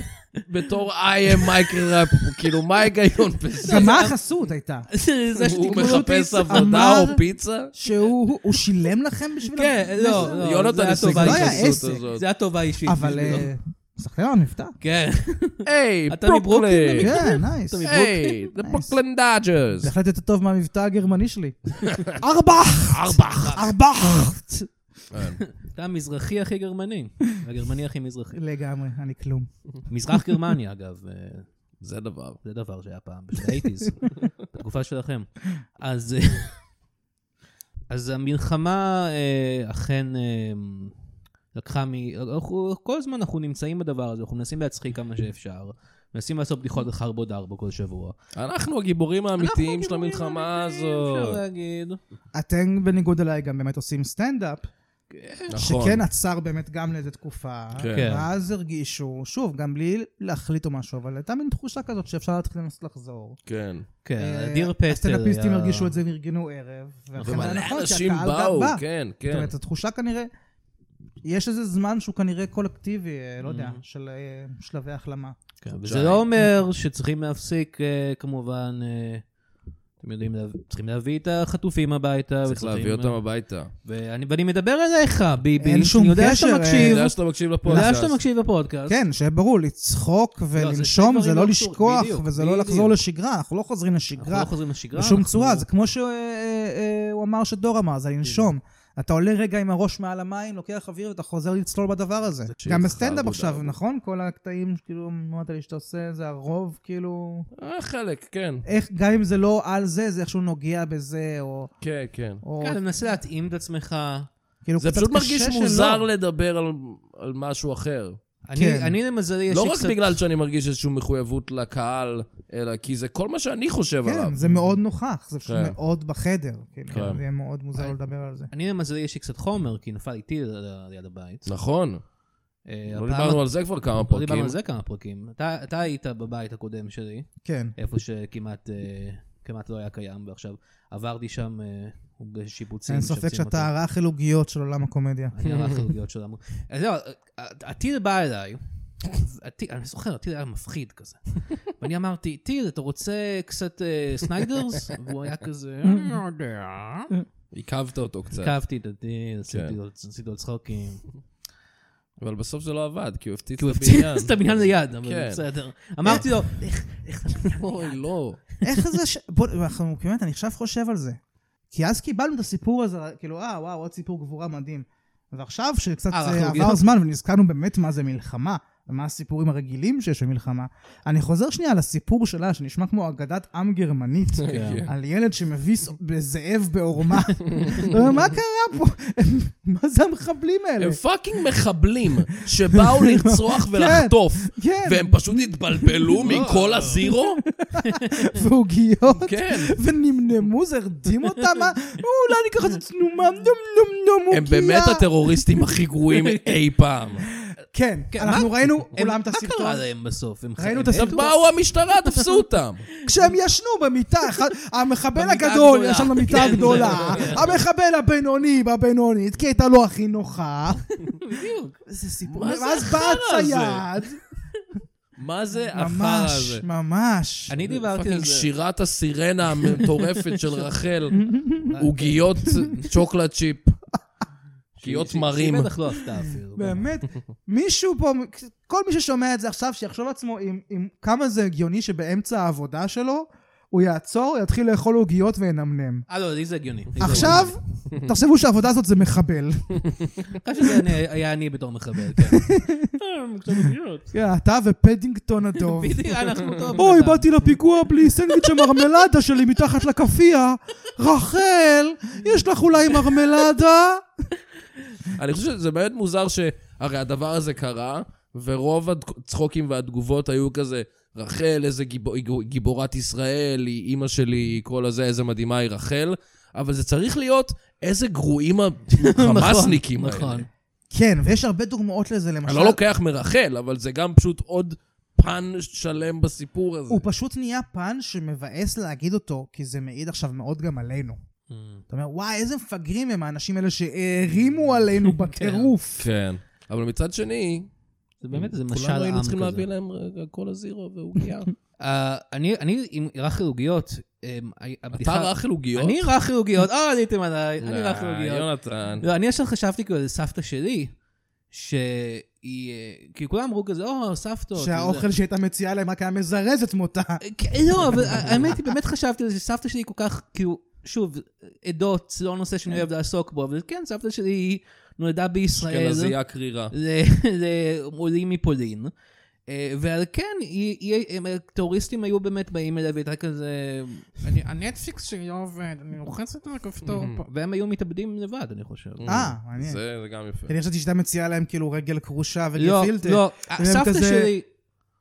A: בתור I am מייקל ראפ? כאילו, מה ההיגיון בזה?
C: גם מה החסות הייתה?
B: זה
A: הוא
B: שתגמרו אותי.
A: מחפש
C: אמר-
A: עבודה או פיצה?
C: שהוא הוא שילם לכם בשביל...
B: כן,
C: המסר?
B: לא, לא.
A: יונתן
B: זה היה
A: השיג את
B: טובה
C: לא היה
B: אישית.
A: החסות
C: עסק.
A: הזאת.
B: זה היה טובה אישית.
C: אבל...
B: בשבילו.
C: אה, סחטיין, נפתע.
B: כן.
A: היי,
B: אתה מברוקלין,
A: ברוקלין.
C: כן, נייס.
B: אתה
A: היי, the Brooklyn Dodgers.
C: זה בהחלט יותר טוב מהמבטא הגרמני שלי. ארבח!
A: ארבח.
C: ארבח!
B: אתה המזרחי הכי גרמני. הגרמני הכי מזרחי.
C: לגמרי, אני כלום.
B: מזרח גרמניה, אגב. אה,
A: זה דבר.
B: זה דבר שהיה פעם, באייטיז, בתקופה שלכם. אז, אה, אז המלחמה אה, אכן אה, לקחה מ... אנחנו- כל הזמן אנחנו נמצאים בדבר הזה, אנחנו מנסים להצחיק כמה שאפשר. מנסים לעשות בדיחות על חרבוד ארבע כל שבוע.
A: אנחנו הגיבורים האמיתיים של המלחמה
B: אפשר
A: הזאת.
B: להגיד.
C: אתם, בניגוד אליי, גם באמת עושים סטנדאפ, שכן עצר באמת גם לאיזה תקופה.
A: נכון. כן.
B: כן.
C: ואז הרגישו, שוב, גם בלי להחליט או משהו, אבל הייתה מין תחושה כזאת שאפשר להתחיל לנסות לחזור.
A: כן.
B: כן,
C: אה,
B: דיר פסטר.
C: הסטנדאפיסטים
B: היה-
C: הרגישו את זה וארגנו ערב. ולכן היה
A: ומלא
C: נכון,
A: אנשים
C: שהקהל גם
A: באו,
C: בא.
A: כן,
C: זאת
A: כן.
C: אומרת, התחושה כנראה, יש איזה זמן שהוא כנראה קולקטיבי, אה, לא יודע,
A: Mm.
C: של אה, שלבי החלמה.
B: כן, וזה
A: חודשיים.
B: לא אומר שצריכים להפסיק, אה, כמובן, אה, אתם יודעים, לה- צריכים להביא את החטופים הביתה.
A: צריך
B: וצריכים,
A: להביא אותם
B: אה,
A: הביתה.
B: ואני, ואני מדבר אליך, ביבי.
C: אין שום
B: אני יודע
C: קשר,
B: שאתה
C: אה,
B: מקשיב,
A: אני יודע שאתה מקשיב
B: אני יודע שאתה
A: לפודקאסט.
B: מקשיב לפודקאסט.
C: כן, שיהיה ברור, לצחוק
B: זה שני
C: ולנשום
B: דברים
C: זה לא
B: לא
C: לשכוח,
B: קשורים,
C: וזה
B: בדיוק,
C: לא לחזור
B: בדיוק.
C: לשגרה, אנחנו לא חוזרים
B: אנחנו לא
C: לשגרה
B: חוזרים לשגרה.
C: בשום
B: אנחנו-
C: צורה, זה כמו אה, שהוא אה, אמר שדור אמר, זה לנשום. אתה עולה רגע עם הראש מעל המים, לוקח אוויר ואתה חוזר לצלול בדבר הזה.
A: שיהיה
C: גם
A: לך
C: בסטנדאפ
A: עבודה,
C: עכשיו,
A: עבודה.
C: נכון? כל הקטעים, כאילו, אמרת לי שאתה עושה, זה הרוב, כאילו...
A: אה, חלק, כן.
C: איך, גם אם זה לא על זה, זה איכשהו נוגע בזה, או...
A: כן, כן.
C: או-
B: כן, אתה מנסה להתאים את עצמך.
C: כאילו,
A: זה
C: קצת
A: פשוט
C: קשה
A: מרגיש
C: שלא.
A: מוזר לדבר על- על משהו אחר.
C: כן.
B: אני, אני למזלי, יש
A: לא
B: לי
A: רק
B: קצת...
A: בגלל שאני מרגיש איזושהי מחויבות לקהל, אלא כי זה כל מה שאני חושב עליו.
C: כן, זה מאוד נוכח, זה פשוט
A: כן.
C: מאוד בחדר. כאילו,
A: כן.
C: זה יהיה מאוד מוזר לדבר על זה.
B: אני למזלי, יש לי קצת חומר, כי נפל איתי ל- ליד הבית.
A: נכון,
B: אה,
A: לא
B: הפעם-
A: דיברנו על זה כבר כמה
B: לא דיברנו
A: פרקים.
B: על זה כמה פרקים. אתה, אתה היית בבית הקודם שלי,
C: כן.
B: איפה שכמעט אה, כמעט לא היה קיים, ועכשיו עברתי שם אה, בשיפוצים.
C: אין ספק
B: משפצים אותו.
C: שאתה הרע חילוגיות של עולם הקומדיה.
B: אני לא ערך הרוגיות של אמור. אז זהו, אה, הטיל בא אליי, הטיל- אני זוכר, הטיל היה מפחיד כזה. ואני אמרתי, טיל, אתה רוצה קצת אה, סניידרס? והוא היה כזה, אני לא יודע. כן.
A: עיכבת אותו קצת,
B: עקבתי את הטיל, עשיתי לו- עשיתי לו צחוקים.
A: אבל בסוף זה לא עד, כי הוא הפציץ
B: כי הוא
A: את
B: הפציץ את
A: הבניין.
B: הבניין ליד,
A: כן.
B: אבל בסדר. אמרתי לו, "איך- איך אתה
A: אוי, לא.
C: איך זה ש... בוא, אנחנו באמת, אני עכשיו חושב על זה. כי אז קיבלנו את הסיפור הזה, כאילו, אה, וואו, עוד סיפור גבורה מדהים. ועכשיו, שקצת
B: אה,
C: אה,
B: אנחנו-
C: עבר זמן ונזכרנו באמת מה זה מלחמה, ומה הסיפורים הרגילים שיש במלחמה, אני חוזר שנייה לסיפור שלה, שנשמע כמו אגדת עם גרמנית,
A: כן.
C: על ילד שמביס זאב בעורמה. מה קרה פה? מה זה המחבלים
B: כן.
C: האלה?
A: הם פאקינג מחבלים שבאו לרצוח ולחטוף,
C: כן,
A: והם פשוט
B: לא.
A: התבלבלו מכל הזירו?
C: ועוגיות,
A: כן.
C: ונמנמו, זה הרדים אותם, מה? אולי אני אקח איזה תנומה, נום נום נום, עוגיה.
A: הם באמת הטרוריסטים הכי גרועים אי פעם.
C: כן,
B: כן,
C: אנחנו
B: מה-
C: ראינו
B: הם-
C: אולם את
B: מה
C: הסרטון.
B: קרה להם בסוף? הם
C: ראינו את
B: הם-
A: עכשיו באו המשטרה, תפסו אותם.
C: כשהם ישנו במיטה, אחד- המחבל
B: במיטה
C: הגדול
B: הגדולה.
C: ישן במיטה
B: כן,
C: הגדולה,
B: זה-
C: המחבל הבינוני בבינונית, כי הייתה לו הכי נוחה.
B: בדיוק.
C: איזה סיפור.
A: מה זה
C: ואז בא
A: החרא הזה?
C: הצייד.
A: מה זה החרא
C: ממש,
A: הזה?
C: ממש.
B: אני דיברתי על
A: פאקינג
B: זה.
A: שירת הסירנה המטורפת של רחל, עוגיות צ'וקלד צ'יפ, עוגיות
B: שהיא-
A: מרים.
B: שהיא בטח לא עשתה אפילו.
C: באמת, מישהו פה, כל מי ששומע את זה עכשיו, שיחשוב לעצמו עם, עם כמה זה הגיוני שבאמצע העבודה שלו, הוא יעצור, יתחיל לאכול עוגיות וינמנם.
B: אה, לא, לי זה הגיוני. לי זה
C: עכשיו,
B: הגיוני.
C: תחשבו שהעבודה הזאת זה מחבל.
B: אני חושב שזה אני- היה אני בתור מחבל, כן. אה, קצת עוגיות.
C: כן, אתה ופדינגטון הדוב.
B: בדיוק, אנחנו אותו בן
C: אוי,
B: אדם.
C: באתי לפיגוע בלי סנדוויץ' המרמלדה שלי מתחת לכאפיה. רחל, יש לך אולי מרמלדה?
A: אני חושב שזה באמת מוזר שהרי הדבר הזה קרה, ורוב הצחוקים והתגובות היו כזה, רחל, איזה גיבור, היא גו- גיבורת ישראל, היא אימא שלי, היא כל הזה, איזה מדהימה היא רחל, אבל זה צריך להיות איזה גרועים החמאסניקים האלה.
B: נכון.
C: כן, ויש הרבה דוגמאות לזה,
A: אני
C: למשל.
A: לא לוקח מרחל, אבל זה גם פשוט עוד פן שלם בסיפור הזה.
C: הוא פשוט נהיה פן שמבאס להגיד אותו, כי זה מעיד עכשיו מאוד גם עלינו.
B: Mm.
C: אתה אומר, וואי, איזה מפגרים הם האנשים האלה שהערימו עלינו בטירוף.
A: כן. אבל מצד שני,
B: זה באמת איזה משל עם כזה.
A: כולנו היינו צריכים להביא להם רגע כל הזירו ועוגיה.
B: אה, אני, אני עם רחל עוגיות, אמ, הי- הבדיחה...
A: אתה רך עוגיות?
B: אני רחל עוגיות, אה, עליתם עליי, אני
A: לא,
B: רחל עוגיות.
A: יונתן.
B: לא, אני עכשיו חשבתי כאילו על סבתא שלי, שהיא... אה, כי כולם אמרו כזה, או, סבתות. וזה."
C: שהאוכל שהייתה מציעה להם רק היה מזרז את מותה.
B: כן, לא, אבל האמת היא, באמת חשבתי על זה שסבתא שלי כל כך, כאילו, שוב, עדות, זה לא נושא שאני אוהב לעסוק בו, אבל כן, סבתא שלי היא נולדה בישראל.
A: אשכנזייה קרירה.
B: ל- לעולים מפולין. אה, ועל כן, היא- היא- הם- הטרוריסטים היו באמת באים אליה והייתה כזה...
D: אני, הנטפליקס שלי לא עובד, אני לוחצת על הכפתור פה.
B: והם היו מתאבדים לבד, אני חושב.
C: Mm. אה, מעניין.
A: זה זה גם יפה.
C: אני חשבתי שהייתה מציעה להם כאילו רגל כרושה
B: לא,
C: וגפילטה.
B: לא,
C: והם
B: סבתא
C: כזה-
B: שלי,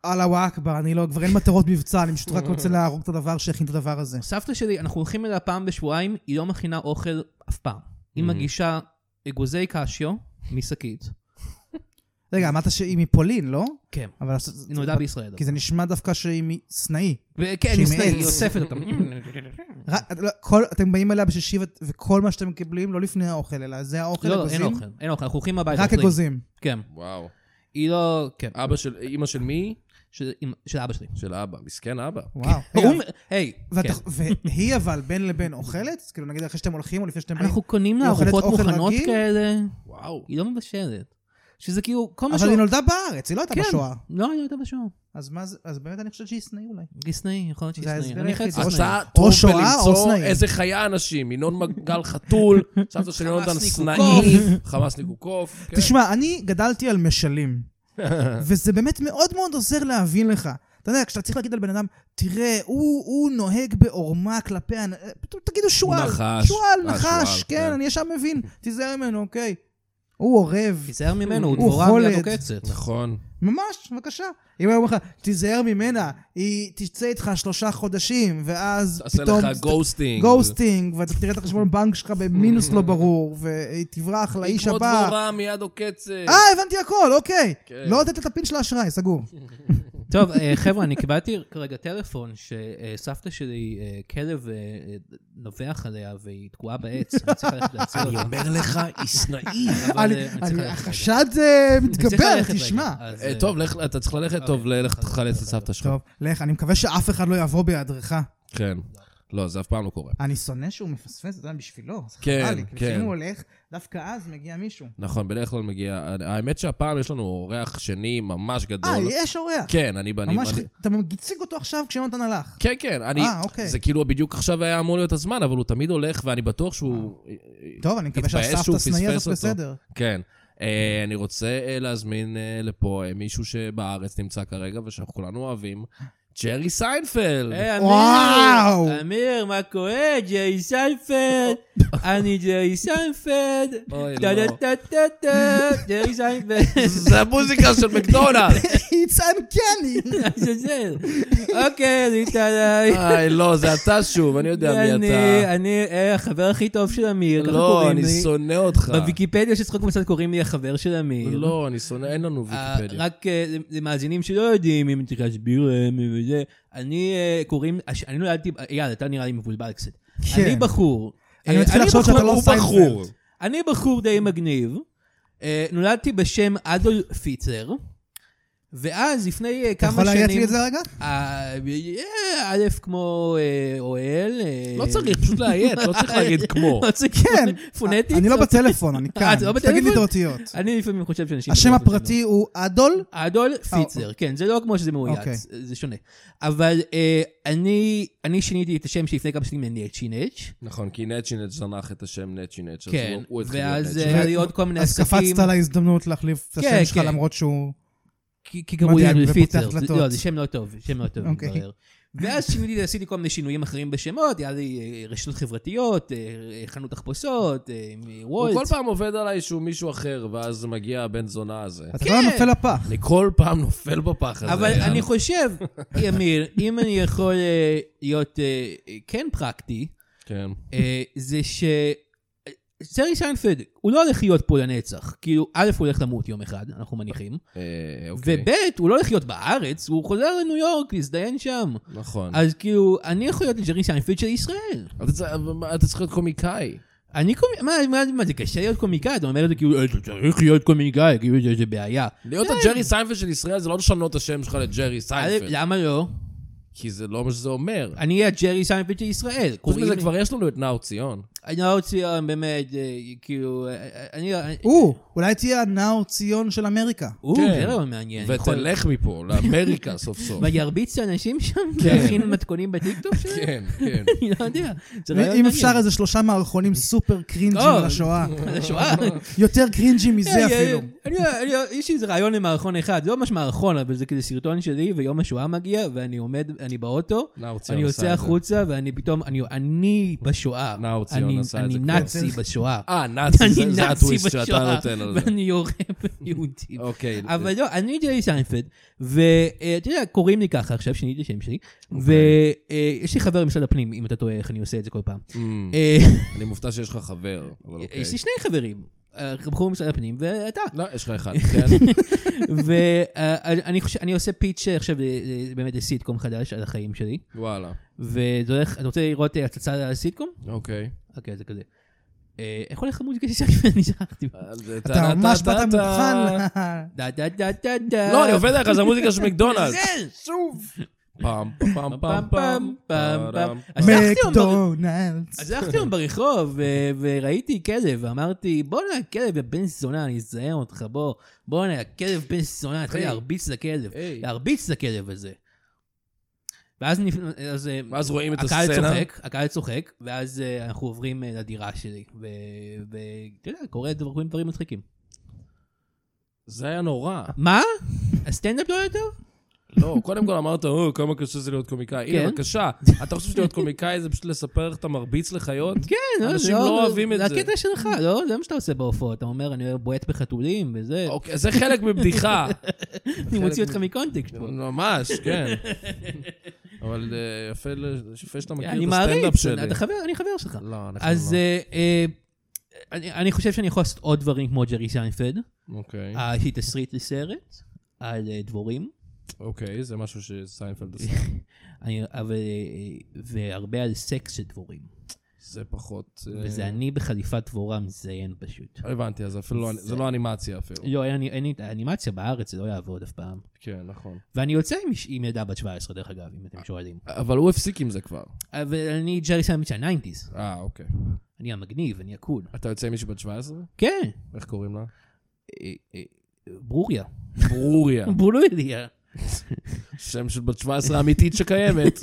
C: אללה אכבר, אני לא, כבר אין מטרות מבצע, אני פשוט רק רוצה להרוג את הדבר שהכין את הדבר הזה.
B: סבתא שלי, אנחנו הולכים אליה פעם בשבועיים, היא לא מכינה אוכל אף פעם. היא
C: Mm-hmm.
A: Mhm.
B: מגישה אגוזי קשיו משקית.
C: רגע, אמרת שהיא מפולין, לא?
B: כן.
C: אבל...
B: היא נולדה בישראל.
C: כי זה נשמע דווקא שהיא מסנאי.
B: כן, היא
C: שהיא מעץ.
B: היא אוספת אותם.
C: רק- לא, כל- אתם באים אליה בשישי ו- וכל מה שאתם מקבלים, לא לפני האוכל, אלא זה האוכל
B: לא, לא,
C: אגוזים?
B: אין אוכל, אין אוכל, אנחנו הולכים הביתה.
C: רק
B: אוכלים.
C: אגוזים.
B: כן.
A: וואו.
B: היא לא... כן.
A: אבא של... אימא של מי?
B: של אמא- של אבא שלי.
A: של אבא. מסכן אבא.
C: וואו.
B: הוא-
C: רגע,
B: היי,
C: ואת-
B: כן.
C: והיא אבל בין לבין אוכלת? כאילו נגיד אחרי שאתם הולכים או לפני שאתם באים?
B: אנחנו קונים לה
C: היא אוכלת
B: ארוחות
C: אוכל
B: מוכנות
C: רגיל?
B: כאלה,
A: וואו.
B: היא לא מבשלת. שזה כאילו, כל מה
C: אבל
B: שהוא...
C: היא נולדה בארץ, היא לא הייתה
B: כן.
C: בשואה.
B: לא, היא לא הייתה בשואה.
C: אז מה זה, אז באמת אני חושבת שהיא שנאי אולי.
B: גיסנאי, יכול להיות שהיא
C: זה
B: גיסנאי.
C: ההסבר
B: אני חייבת
C: היחיד.
B: גיסנאי.
A: עושה
C: או
A: טוב
C: שואה או
A: בלמצוא
C: סנאי.
A: איזה חיה אנשים. ינון מגל חתול, סבתא של יונתן
B: חמאסניק
A: סנאי, חמאסניק הוא קוף. כן.
C: תשמע, אני גדלתי על משלים, וזה באמת מאוד מאוד עוזר להבין לך. אתה יודע, כשאתה צריך להגיד על בן אדם, תראה, הוא, הוא נוהג בעורמה כלפי... הנ- תגידו שועל.
A: נחש.
C: שועל,
A: אה,
C: נחש,
A: שועל,
C: כן,
A: כן.
C: אני ישר מבין. תיזהר ממנו, אוקיי. הוא עורב.
B: תיזהר ממנו, הוא
C: הוא
B: דבורה לא
C: חולד.
B: מיד עוקצת.
A: נכון.
C: ממש, בבקשה. אם הוא אומר לך, תיזהר ממנה, היא תצא איתך שלושה חודשים, ואז
A: עשה
C: פתאום...
A: לך גוסטינג.
C: גוסטינג, ואתה תראה את החשבון בנק שלך במינוס לא ברור, והיא תברח לאיש
A: היא כמו
C: הבא.
A: דבורה מיד עוקצת.
C: אה, הבנתי הכל, אוקיי.
A: כן.
C: לא לתת את הפין של האשראי, סגור.
B: טוב, אה, חבר'ה, אני קיבלתי כרגע טלפון שסבתא שלי, אה, כלב אה, אה, נובח עליה והיא תקועה בעץ. אני צריך ללכת להציל אותה.
A: אומר לך, היא סנאי.
B: אבל,
C: אני-
B: אה, אני צריך
C: אני-
B: ללכת
C: החשד אה,
B: רגע. אני צריך
C: מתגבר,
B: ללכת רגע.
C: תשמע.
B: אז,
A: אה,
B: אה,
A: טוב, לך- אתה צריך ללכת טוב, לך תחלץ את סבתא שלך.
C: טוב, לך, אני מקווה שאף אחד לא יבוא בהיעדרך.
A: כן. לא, זה אף פעם לא קורה.
C: אני שונא שהוא מפספס, אתה יודע, בשבילו. זה
A: כן,
C: חבל לי, כי
A: כן.
C: לפעמים הוא הולך, דווקא אז מגיע מישהו.
A: נכון, בדרך כלל מגיע... האמת שהפעם יש לנו אורח שני ממש גדול.
C: אה, יש אורח.
A: לא, כן, אני בנים...
C: ממש, אתה מציג אותו עכשיו כשיונתן הלך.
A: כן, כן, אני...
C: אה, אוקיי.
A: זה כאילו בדיוק עכשיו היה אמור להיות הזמן, אבל הוא תמיד הולך, ואני בטוח שהוא...
C: טוב, אני מקווה
A: התבאס
C: שהסבתא
A: שהוא
C: סנאי
A: פספס
C: הזאת
A: אותו.
C: בסדר.
A: כן. אה, אני רוצה אה, להזמין אה, לפה אה, מישהו שבארץ נמצא כרגע ושאנחנו כולנו אוהבים,
C: אה.
A: ג'רי סיינפלד.
B: היי, אה, אמיר,
C: וואו.
B: אמיר, מה קורה? ג'יי סיינפלד, אני ג'יי סיינפלד,
A: אוי,
B: טה
A: לא.
B: טה טה טה טה, ג'יי סיינפלד,
A: זה המוזיקה של מקדונלד.
C: It's uncanny.
B: זה זה, אוקיי, אז איתה עליי.
A: איי, לא, זה אתה שוב, אני יודע מי
B: אני,
A: אתה.
B: אני אה, החבר הכי טוב של אמיר, ככה
A: לא,
B: קוראים
A: אני
B: לי.
A: שונא אותך.
B: בוויקיפדיה של צחוק בצד קוראים לי החבר של אמיר.
A: לא, אני שונא, אין לנו
B: אה,
A: ויקיפדיה.
B: רק אה, למאזינים שלא יודעים, אם אה, צריך להסביר להם וזה, אני אה, קוראים, הש- אני נולדתי, אה, יאללה, אתה נראה לי מבולבל קצת.
C: כן.
B: אני בחור.
C: אני
B: אה,
C: מתחיל לחשוב
B: בחור-
C: שאתה לא
B: הוא
C: סיינפלד.
B: בחור. אני בחור די מגניב. אה, נולדתי בשם אדולף פיצר, ואז לפני אה,
C: אתה
B: כמה שנים...
C: יכול להגיד לי את זה רגע?
B: אה, אה, א' כמו אה, אוהל. אה,
A: לא צריך, פשוט לאיית, לא צריך להגיד כמו.
B: לא צריך,
C: כן.
B: פונטית.
C: אני לא בטלפון, אני כאן.
B: אה, אתה לא
C: תגיד לי את
B: בטלפון?
C: האותיות.
B: אני לפעמים חושב שאנשים...
C: השם
B: בטלפון שלו.
C: הפרטי הוא אדול?
B: אדול
C: אה,
B: פיצר, כן, זה לא כמו שזה
C: אוקיי.
B: מאויץ, זה שונה. אבל אה, אני אני שיניתי את השם שלפני כמה שנים לנצ'ינץ',
A: נכון, כי נצ'ינץ' זנח את השם נצ'ינץ', אז
B: כן,
A: הוא- הוא התחיל להיות
B: ואז
A: נצ'ינץ'.
B: היה לי עוד כל מיני
C: אז
B: עסקים.
C: קפצת על ההזדמנות להחליף את
B: כן,
C: השם שלך
B: כן.
C: למרות שהוא...
B: כי כי קראו לי
C: מדהים,
B: אדולף
C: ופותח
B: פיצר. זה-
C: דלתות.
B: לא, זה שם לא טוב, שם לא טוב,
C: אוקיי.
B: מתברר. ואז שיניתי, עשיתי כל מיני שינויים אחרים בשמות, היה לי אה, רשתות חברתיות, אה, אה, חנות תחפושות, אה,
A: הוא כל
B: וולט.
A: פעם עובד עליי שהוא מישהו אחר, ואז מגיע הבן זונה הזה.
C: אתה לא נופל לפח.
A: אני כל פעם אה, נופל בפח הזה.
B: אבל אני
A: יאללה.
B: חושב, אמיר, אם אני יכול אה, להיות אה, אה, כן פרקטי,
A: כן.
B: אה, זה ש... סרי סיינפלד, הוא לא הולך להיות פה לנצח. כאילו, א', הוא הולך למות יום אחד, אנחנו מניחים,
A: אה, אוקיי.
B: וב', הוא לא הולך להיות בארץ, הוא חוזר לניו יורק להזדיין שם.
A: נכון.
B: אז כאילו, אני יכול להיות ג'רי סיינפלד של ישראל.
A: אתה צריך- אבל אתה צריך להיות קומיקאי.
B: אני קומיקאי, מה, מה, מה, זה קשה להיות קומיקאי, אתה אומר את זה כאילו, "אה, אתה צריך להיות קומיקאי, כאילו זה- זה בעיה. כן.
A: להיות הג'רי סיינפלד של ישראל זה לא לשנות את השם שלך לג'רי
B: א',
A: סיינפלד.
B: למה לא?
A: כי זה לא מה שזה אומר.
B: אני אהיה הג'רי סיינפלד של ישראל.
A: חוץ
B: קוראים
A: מזה,
B: לי-
A: כבר יש לנו את נאור ציון.
B: אני לא רוצה, באמת, אה, כאילו, אה, אה, אני... אה,
C: הוא, אולי תהיה הנאור ציון של אמריקה.
B: או,
A: כן.
B: זה רעיון מעניין. יכול-
A: ותלך מפה, לאמריקה סוף סוף.
B: מה, ירביץ לאנשים שם?
A: כן.
B: להכין מתכונים בטיקטוק שלהם?
A: כן, כן.
B: אני לא יודע. זה רעיון
C: אם
B: מעניין.
C: אפשר איזה שלושה מערכונים סופר קרינג'ים
B: לא.
C: על השואה.
B: על השואה.
C: יותר קרינג'י מזה
B: אה,
C: אפילו.
B: אה, אני יודע, אני יודע, יש לי איזה רעיון למערכון אחד, זה לא ממש מערכון, אבל זה כזה סרטון שלי, ויום השואה מגיע, ואני עומד, אני באוטו,
A: נאור ציון
B: אני
A: עשה
B: יוצא
A: את זה.
B: החוצה, ואני פתאום, אני- אני בשואה.
A: נאור ציון
B: אני-
A: עשה את זה
B: אני
A: כבר.
B: נאצי בשואה.
A: אה, נאצי,
B: אני
A: זה- זה
B: נאצי
A: הטוויסט שאתה
B: בשואה,
A: נותן על זה.
B: ואני יורה ביהודים.
A: אוקיי.
B: אבל לא, אני ג'רי סיינפלד, ואתה אה, יודע, קוראים לי ככה עכשיו, שיניתי שם שלי,
A: אוקיי.
B: ויש לי חבר במשרד הפנים, אם אתה טועה איך אני עושה את זה כל פעם.
A: אמ,
B: אה,
A: אני מופתע שיש לך חבר, אבל אוקיי.
B: יש לי שני חברים, אה, בחור במשרד הפנים ואתה.
A: לא, יש לך אחד, כן.
B: ואני חושב, אני עושה פיץ' עכשיו אה, אה, באמת לסיטקום חדש על החיים שלי,
A: וואלה.
B: וזה הולך, אתה רוצה לראות אה, הצצה לסיטקום?
A: אוקיי.
B: אוקיי, זה כזה. אה, איך הולך המוזיקה ששאני שכחתי?
C: אתה ממש באת מוכן. ל-
B: דה דה דה דה דה.
A: לא, אני עובד עליך, זה המוזיקה של מקדונלדס.
B: כן.
A: פעם, פעם, פעם, פעם,
B: פעם, פעם.
A: אז-
B: אז- שלחתי לו בר-
C: מקדונלדס.
B: אז הלכתי היום ברחוב ו- וראיתי כלב, ואמרתי, בואנה, כלב יא בן זונה, אני אזהר אותך, בוא, בואנה, כלב בן זונה, התחלתי
A: היי.
B: להרביץ לכלב,
A: היי.
B: להרביץ לכלב הזה. ואז נפ- אז, אה,
A: ואז רואים את
B: הקהל
A: הסצנה.
B: צוחק, הקהל צוחק, ואז אה, אנחנו עוברים אה, לדירה שלי, ו- ואתה יודע, קורה דבר- קורים דברים מצחיקים.
A: זה היה נורא.
B: מה? הסטנדאפ לא יותר?
A: לא, קודם כל אמרת, או, כמה קשה זה להיות קומיקאי. הנה,
B: כן.
A: בבקשה. אתה חושב שלהיות קומיקאי זה פשוט לספר איך אתה מרביץ לחיות?
B: כן, לא,
A: אנשים
B: זה
A: לא אוהבים את זה. Mm.
B: זה הקטע שלך, לא? זה מה שאתה עושה בהופעות, אתה אומר, אני בועט בחתולים וזה,
A: אוקיי, זה חלק מבדיחה.
B: אני מוציא
A: חלק
B: אותך מקונטקסט פה.
A: ממש, כן. אבל אה, יפה ל- יפה שאתה
B: כן,
A: מכיר
B: אני
A: את הסטנדאפ
B: מעריץ,
A: שלי.
B: אתה חבר, אני חבר שלך.
A: לא, אנחנו
B: אז
A: לא.
B: אה, אה, אני- אני חושב שאני יכול לעשות עוד דברים כמו ג'רי סיינפלד.
A: אוקיי,
B: אה, יש לי תסריט לסרט על אה, דבורים,
A: אוקיי, זה משהו שסיינפלד עשה.
B: אני- אבל, אה, והרבה על סקס של דבורים.
A: זה פחות... אה,
B: וזה אני בחליפת דבורה מזיין פשוט.
A: הבנתי, אז אפילו לא- זה
B: זה-
A: לא אנימציה אפילו.
B: לא, אין לי- אין לי את האנימציה בארץ, זה לא יעבוד אף פעם.
A: כן, נכון.
B: ואני יוצא עם איש- עם ילדה בת 17, דרך אגב, אם
A: אה.
B: אתם שואלים.
A: אבל הוא הפסיק עם זה כבר.
B: אבל אני ג'רי סיינפלד של הניינטיז.
A: אה, אוקיי.
B: אני המגניב, אני הקול.
A: אתה יוצא עם מישהי בת 17?
B: כן,
A: איך קוראים לה?
B: אה, אה, ברוריה.
A: ברוריה.
B: ברוריה.
A: שם של בת 17 האמיתית שקיימת.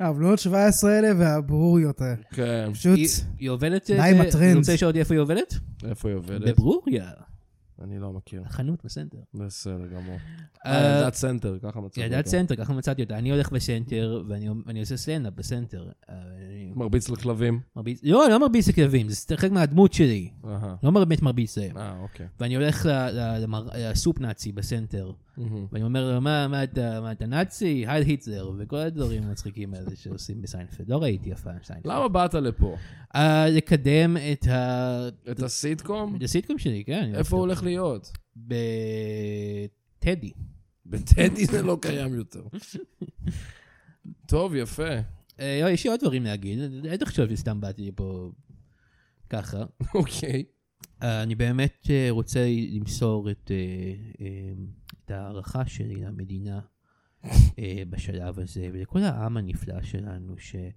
C: הבלונות 17 האלה והברוריות האלה.
A: כן.
C: פשוט,
B: היא- היא עובדת...
C: די
B: אה,
C: עם הטרנד.
B: אני רוצה לשאול אותי איפה היא עובדת?
A: איפה היא עובדת?
B: בברוריה.
A: אני לא מכיר.
B: החנות בסנטר.
A: בסדר גמור.
B: אה,
A: ילדת סנטר, ככה מצאתי.
B: ילדת
A: אותו.
B: סנטר, ככה מצאתי אותה. אני הולך בסנטר, ואני אני עושה סטנדאפ בסנטר. אה, אני
A: מרביץ לכלבים.
B: מרביץ- לא, אני לא מרביץ לכלבים, זה חלק מהדמות שלי.
A: אהה.
B: לא באמת מרביץ להם.
A: אה, אוקיי.
B: ואני הולך ל- ל- למר- לסופ נאצי בסנטר,
A: מהמם.
B: ואני אומר לו, "מה- מה אתה מה אתה נאצי? היי היטלר, וכל הדברים המצחיקים האלה שעושים בסיינפלד. לא ראיתי אף פעם סיינפלד.
A: למה באת לפה?
B: אה, לקדם את ה...
A: את הסיטקום?
B: את הסיטקום שלי, כן. אני
A: איפה הוא הולך להיות?
B: בטדי.
A: בטדי זה לא קיים יותר. טוב, יפה.
B: אה, לא, יש לי עוד דברים להגיד, אל תחשוב שסתם באתי פה ככה.
A: אוקיי.
B: אה, אני באמת אה, רוצה למסור את, אה, אה, את ההערכה שלי למדינה אה, בשלב הזה, ולכל העם הנפלא שלנו, שאתה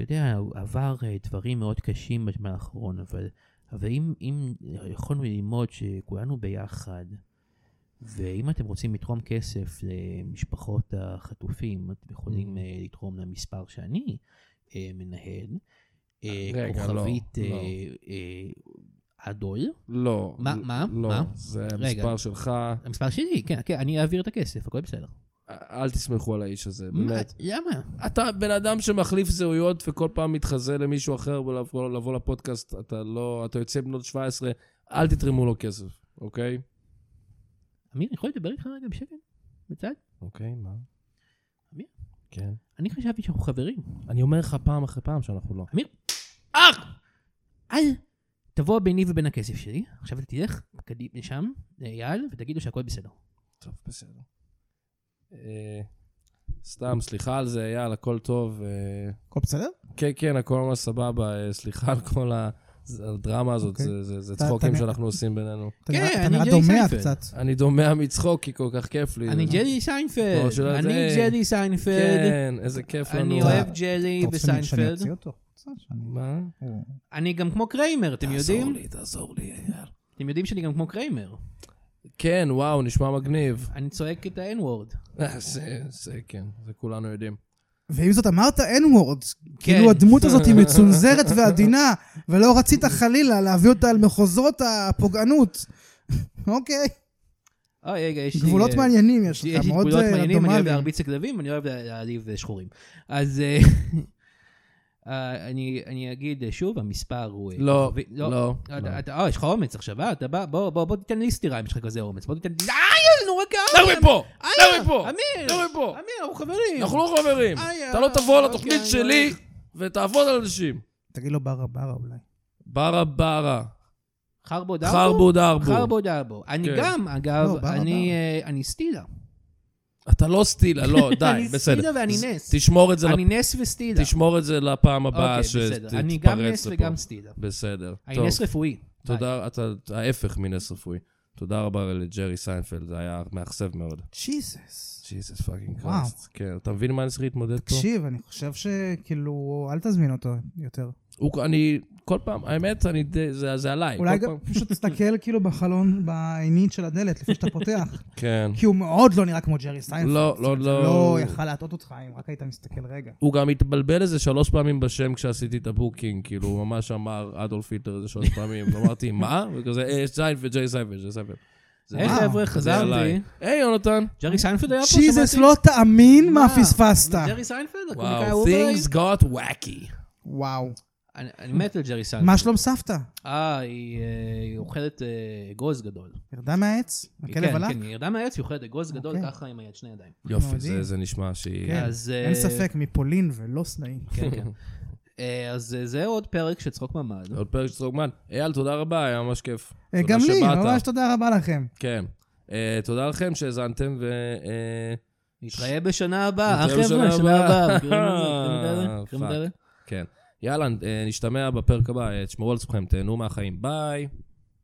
B: יודע, הוא עבר אה, דברים מאוד קשים בזמן האחרון, אבל, אבל אם, אם יכולנו ללמוד שכולנו ביחד, ואם אתם רוצים לתרום כסף למשפחות החטופים, אתם
A: Mm.
B: יכולים אה, לתרום למספר שאני אה, מנהל, אה,
A: רגע, לא,
B: כוכבית אה,
A: לא.
B: אה, אדול,
A: לא.
B: מה- מה?
A: לא.
B: מה?
A: זה
B: רגע.
A: המספר שלך.
B: המספר שלי, כן, כן, אני אעביר את הכסף, הכל בסדר.
A: אל תסמכו על האיש הזה, באמת.
B: מה, למה?
A: אתה בן אדם שמחליף זהויות וכל פעם מתחזה למישהו אחר ולבוא לבוא לפודקאסט, אתה לא, אתה יוצא בנות 17, אל תתרמו לו כסף, אוקיי?
B: אמיר, אני יכול לדבר איתך רגע בשקט? בצד?
A: אוקיי, מה?
B: אמיר?
A: כן.
B: אני חשבתי שאנחנו חברים.
A: אני אומר לך פעם אחרי פעם שאנחנו לא.
B: אח! אל תבוא ביני ובין הכסף שלי, עכשיו אתה תלך קדימה לשם, לאייל, ותגיד לו שהכל בסדר.
A: טוב, בסדר. אה, סתם, סליחה על זה, אייל, הכל טוב. אה,
C: הכל בסדר?
A: כן, כן, הכל ממש סבבה, אה, סליחה על כל ה- זה- הדרמה הזאת,
C: אוקיי.
A: זה- זה זה
C: אתה-
A: צחוקים
C: אתה-
A: שאנחנו עושים בינינו.
C: אתה
B: כן,
C: נראה- אתה
B: אני
C: נראה
B: ג'רי
C: דומע
B: סיינפלד.
C: קצת.
A: אני דומע מצחוק, כי כל כך כיף לי.
B: אני ג'לי
A: לא,
B: סיינפלד,
A: שלא
B: אני
A: זה-
B: ג'לי סיינפלד,
A: כן, איזה כיף לנו.
B: אני אוהב ג'לי
C: אתה רוצה שאני- שאני
B: בסיינפלד.
C: אוציא אותו? רוצה שאני-
A: מה?
C: הוא-
B: אני גם כמו קריימר, אתם
A: תעזור
B: יודעים?
A: לי, תעזור לי, אייל.
B: אתם יודעים שאני גם כמו קריימר.
A: כן, וואו, נשמע מגניב.
B: אני צועק את ה-N-word.
A: אה, זה, זה כן, זה כולנו יודעים.
C: ועם זאת אמרת N-word,
B: כן.
C: כאילו הדמות הזאת היא מצונזרת ועדינה, ולא רצית חלילה להביא אותה על מחוזות הפוגענות. אוקיי,
B: אה, רגע, יש לי...
C: גבולות
B: אה,
C: מעניינים יש
B: יש
C: לך,
B: לי
C: מאוד
B: גבולות
C: אה,
B: מעניינים, אני אוהב
C: רנדומליים.
B: להרביץ לכלבים, אני אוהב לה- להעליב אה, שחורים. אז אה, אה, אני אני אגיד אה, שוב, המספר הוא... אה,
A: לא,
B: כוכבי-
A: לא,
B: אתה-
A: לא.
B: אתה- אה, יש לך אומץ עכשיו, אה? אתה בא, בוא, בוא, בוא תיתן לי סטירה אם יש לך כזה אומץ. בוא תיתן... איי, נו, רגע!
A: לא מפה!
B: איי,
A: לא מפה!
B: אמיר!
A: לא מפה!
B: אמיר, אנחנו חברים!
A: אנחנו לא חברים.
B: איי,
A: אתה לא תבוא
B: אוקיי,
A: לתוכנית
B: אני
A: שלי
B: הולך.
A: ותעבוד על אנשים.
C: תגיד לו ברה ברה אולי.
A: ברה ברה,
B: חרבו דרבו?
A: חרבו דרבו.
B: חרבו דרבו. אני
A: כן.
B: גם,
C: לא,
B: אגב,
C: ברבו.
B: אני אה, אני סטילה.
A: אתה לא סטילה, לא, די,
B: אני
A: בסדר.
B: סטילה ואני
A: אז
B: נס.
A: תשמור את זה לא-
B: אני
A: לפ-
B: נס וסטילה.
A: תשמור את זה לפעם הבאה
B: אוקיי, בסדר. אני גם נס
A: שתתפרץ לפה.
B: וגם סטילה.
A: בסדר.
B: אני
A: טוב,
B: נס רפואי.
A: תודה, אתה ההפך מנס רפואי. תודה רבה לג'רי סיינפלד, זה היה מאכזב מאוד.
C: ג'יזוס.
A: ג'יזוס פאקינג
C: וואו.
A: קראסט. כן, אתה מבין מה אני צריך להתמודד פה?
C: תקשיב, אני חושב שכאילו, אל תזמין אותו יותר.
A: הוא- אני, כל פעם, האמת, אני די- זה זה
B: אה,
A: עליי.
C: אולי
A: כל
C: גם
A: פעם-
C: פשוט תסתכל כאילו בחלון, בעינית של הדלת לפני שאתה פותח.
A: כן.
C: כי הוא מאוד לא נראה כמו ג'רי סיינפלד.
A: לא, לא, לא.
C: לא יכל להטעות אותך אם רק היית מסתכל
B: לא,
C: רגע.
A: הוא גם התבלבל איזה שלוש פעמים בשם כשעשיתי את הבוקינג, כאילו, הוא ממש אמר אדולף היטלר איזה שלוש פעמים, ואמרתי, מה? וכזה, אה, סיינפלד, ג'יי סיינפלד, ג'יי סיינפלד. זה
B: היי
A: מה?
B: חבר'ה,
A: זה עליי.
B: חזרתי.
A: היי, יונתן.
B: ג'רי סיינפלד היה פה?
C: ג'יזוס,
B: שמעתי?
C: לא תאמין מה
B: מה?
C: פספסת.
B: ג'רי סיינפלד? הקומיקאי
A: וואו,
B: האהוב עליי?
A: things got wacky.
C: וואו.
B: אני אני מת על ג'רי סיינפלד.
C: מה שלום סבתא?
B: אה, היא אה, היא אוכלת אה, אגוז גדול.
C: ירדה מהעץ? הכלב
B: כן,
C: עלה?
B: כן, היא ירדה מהעץ, היא אוכלת אגוז גדול
C: אוקיי.
B: ככה עם היד שני ידיים.
A: יופי,
C: מדהים.
A: זה- זה נשמע שהיא...
C: כן.
B: אז, אה,
C: אין ספק, מפולין ולא סנאים.
B: כן, כן. אה, אז אה, זה עוד פרק של צחוק ממ"ד.
A: עוד פרק של סטרוגמן. אייל, תודה רבה, היה ממש כיף.
C: אה,
A: תודה
C: גם לי,
A: שבאת.
C: ממש תודה רבה לכם.
A: כן. אה, תודה לכם שהאזנתם, ו... אה,
B: נתראה בשנה הבאה. אה,
A: נתראה
B: חבר'ה,
A: בשנה
B: שנה
A: הבאה.
B: הבאה. מכירים את זה? מכירים את אלה?
A: אה,
B: מכירים את
A: פאק.
B: אלה?
A: כן. יאללה, אה, נשתמע בפרק הבא, אה, תשמרו על עצמכם, תהנו מהחיים, ביי.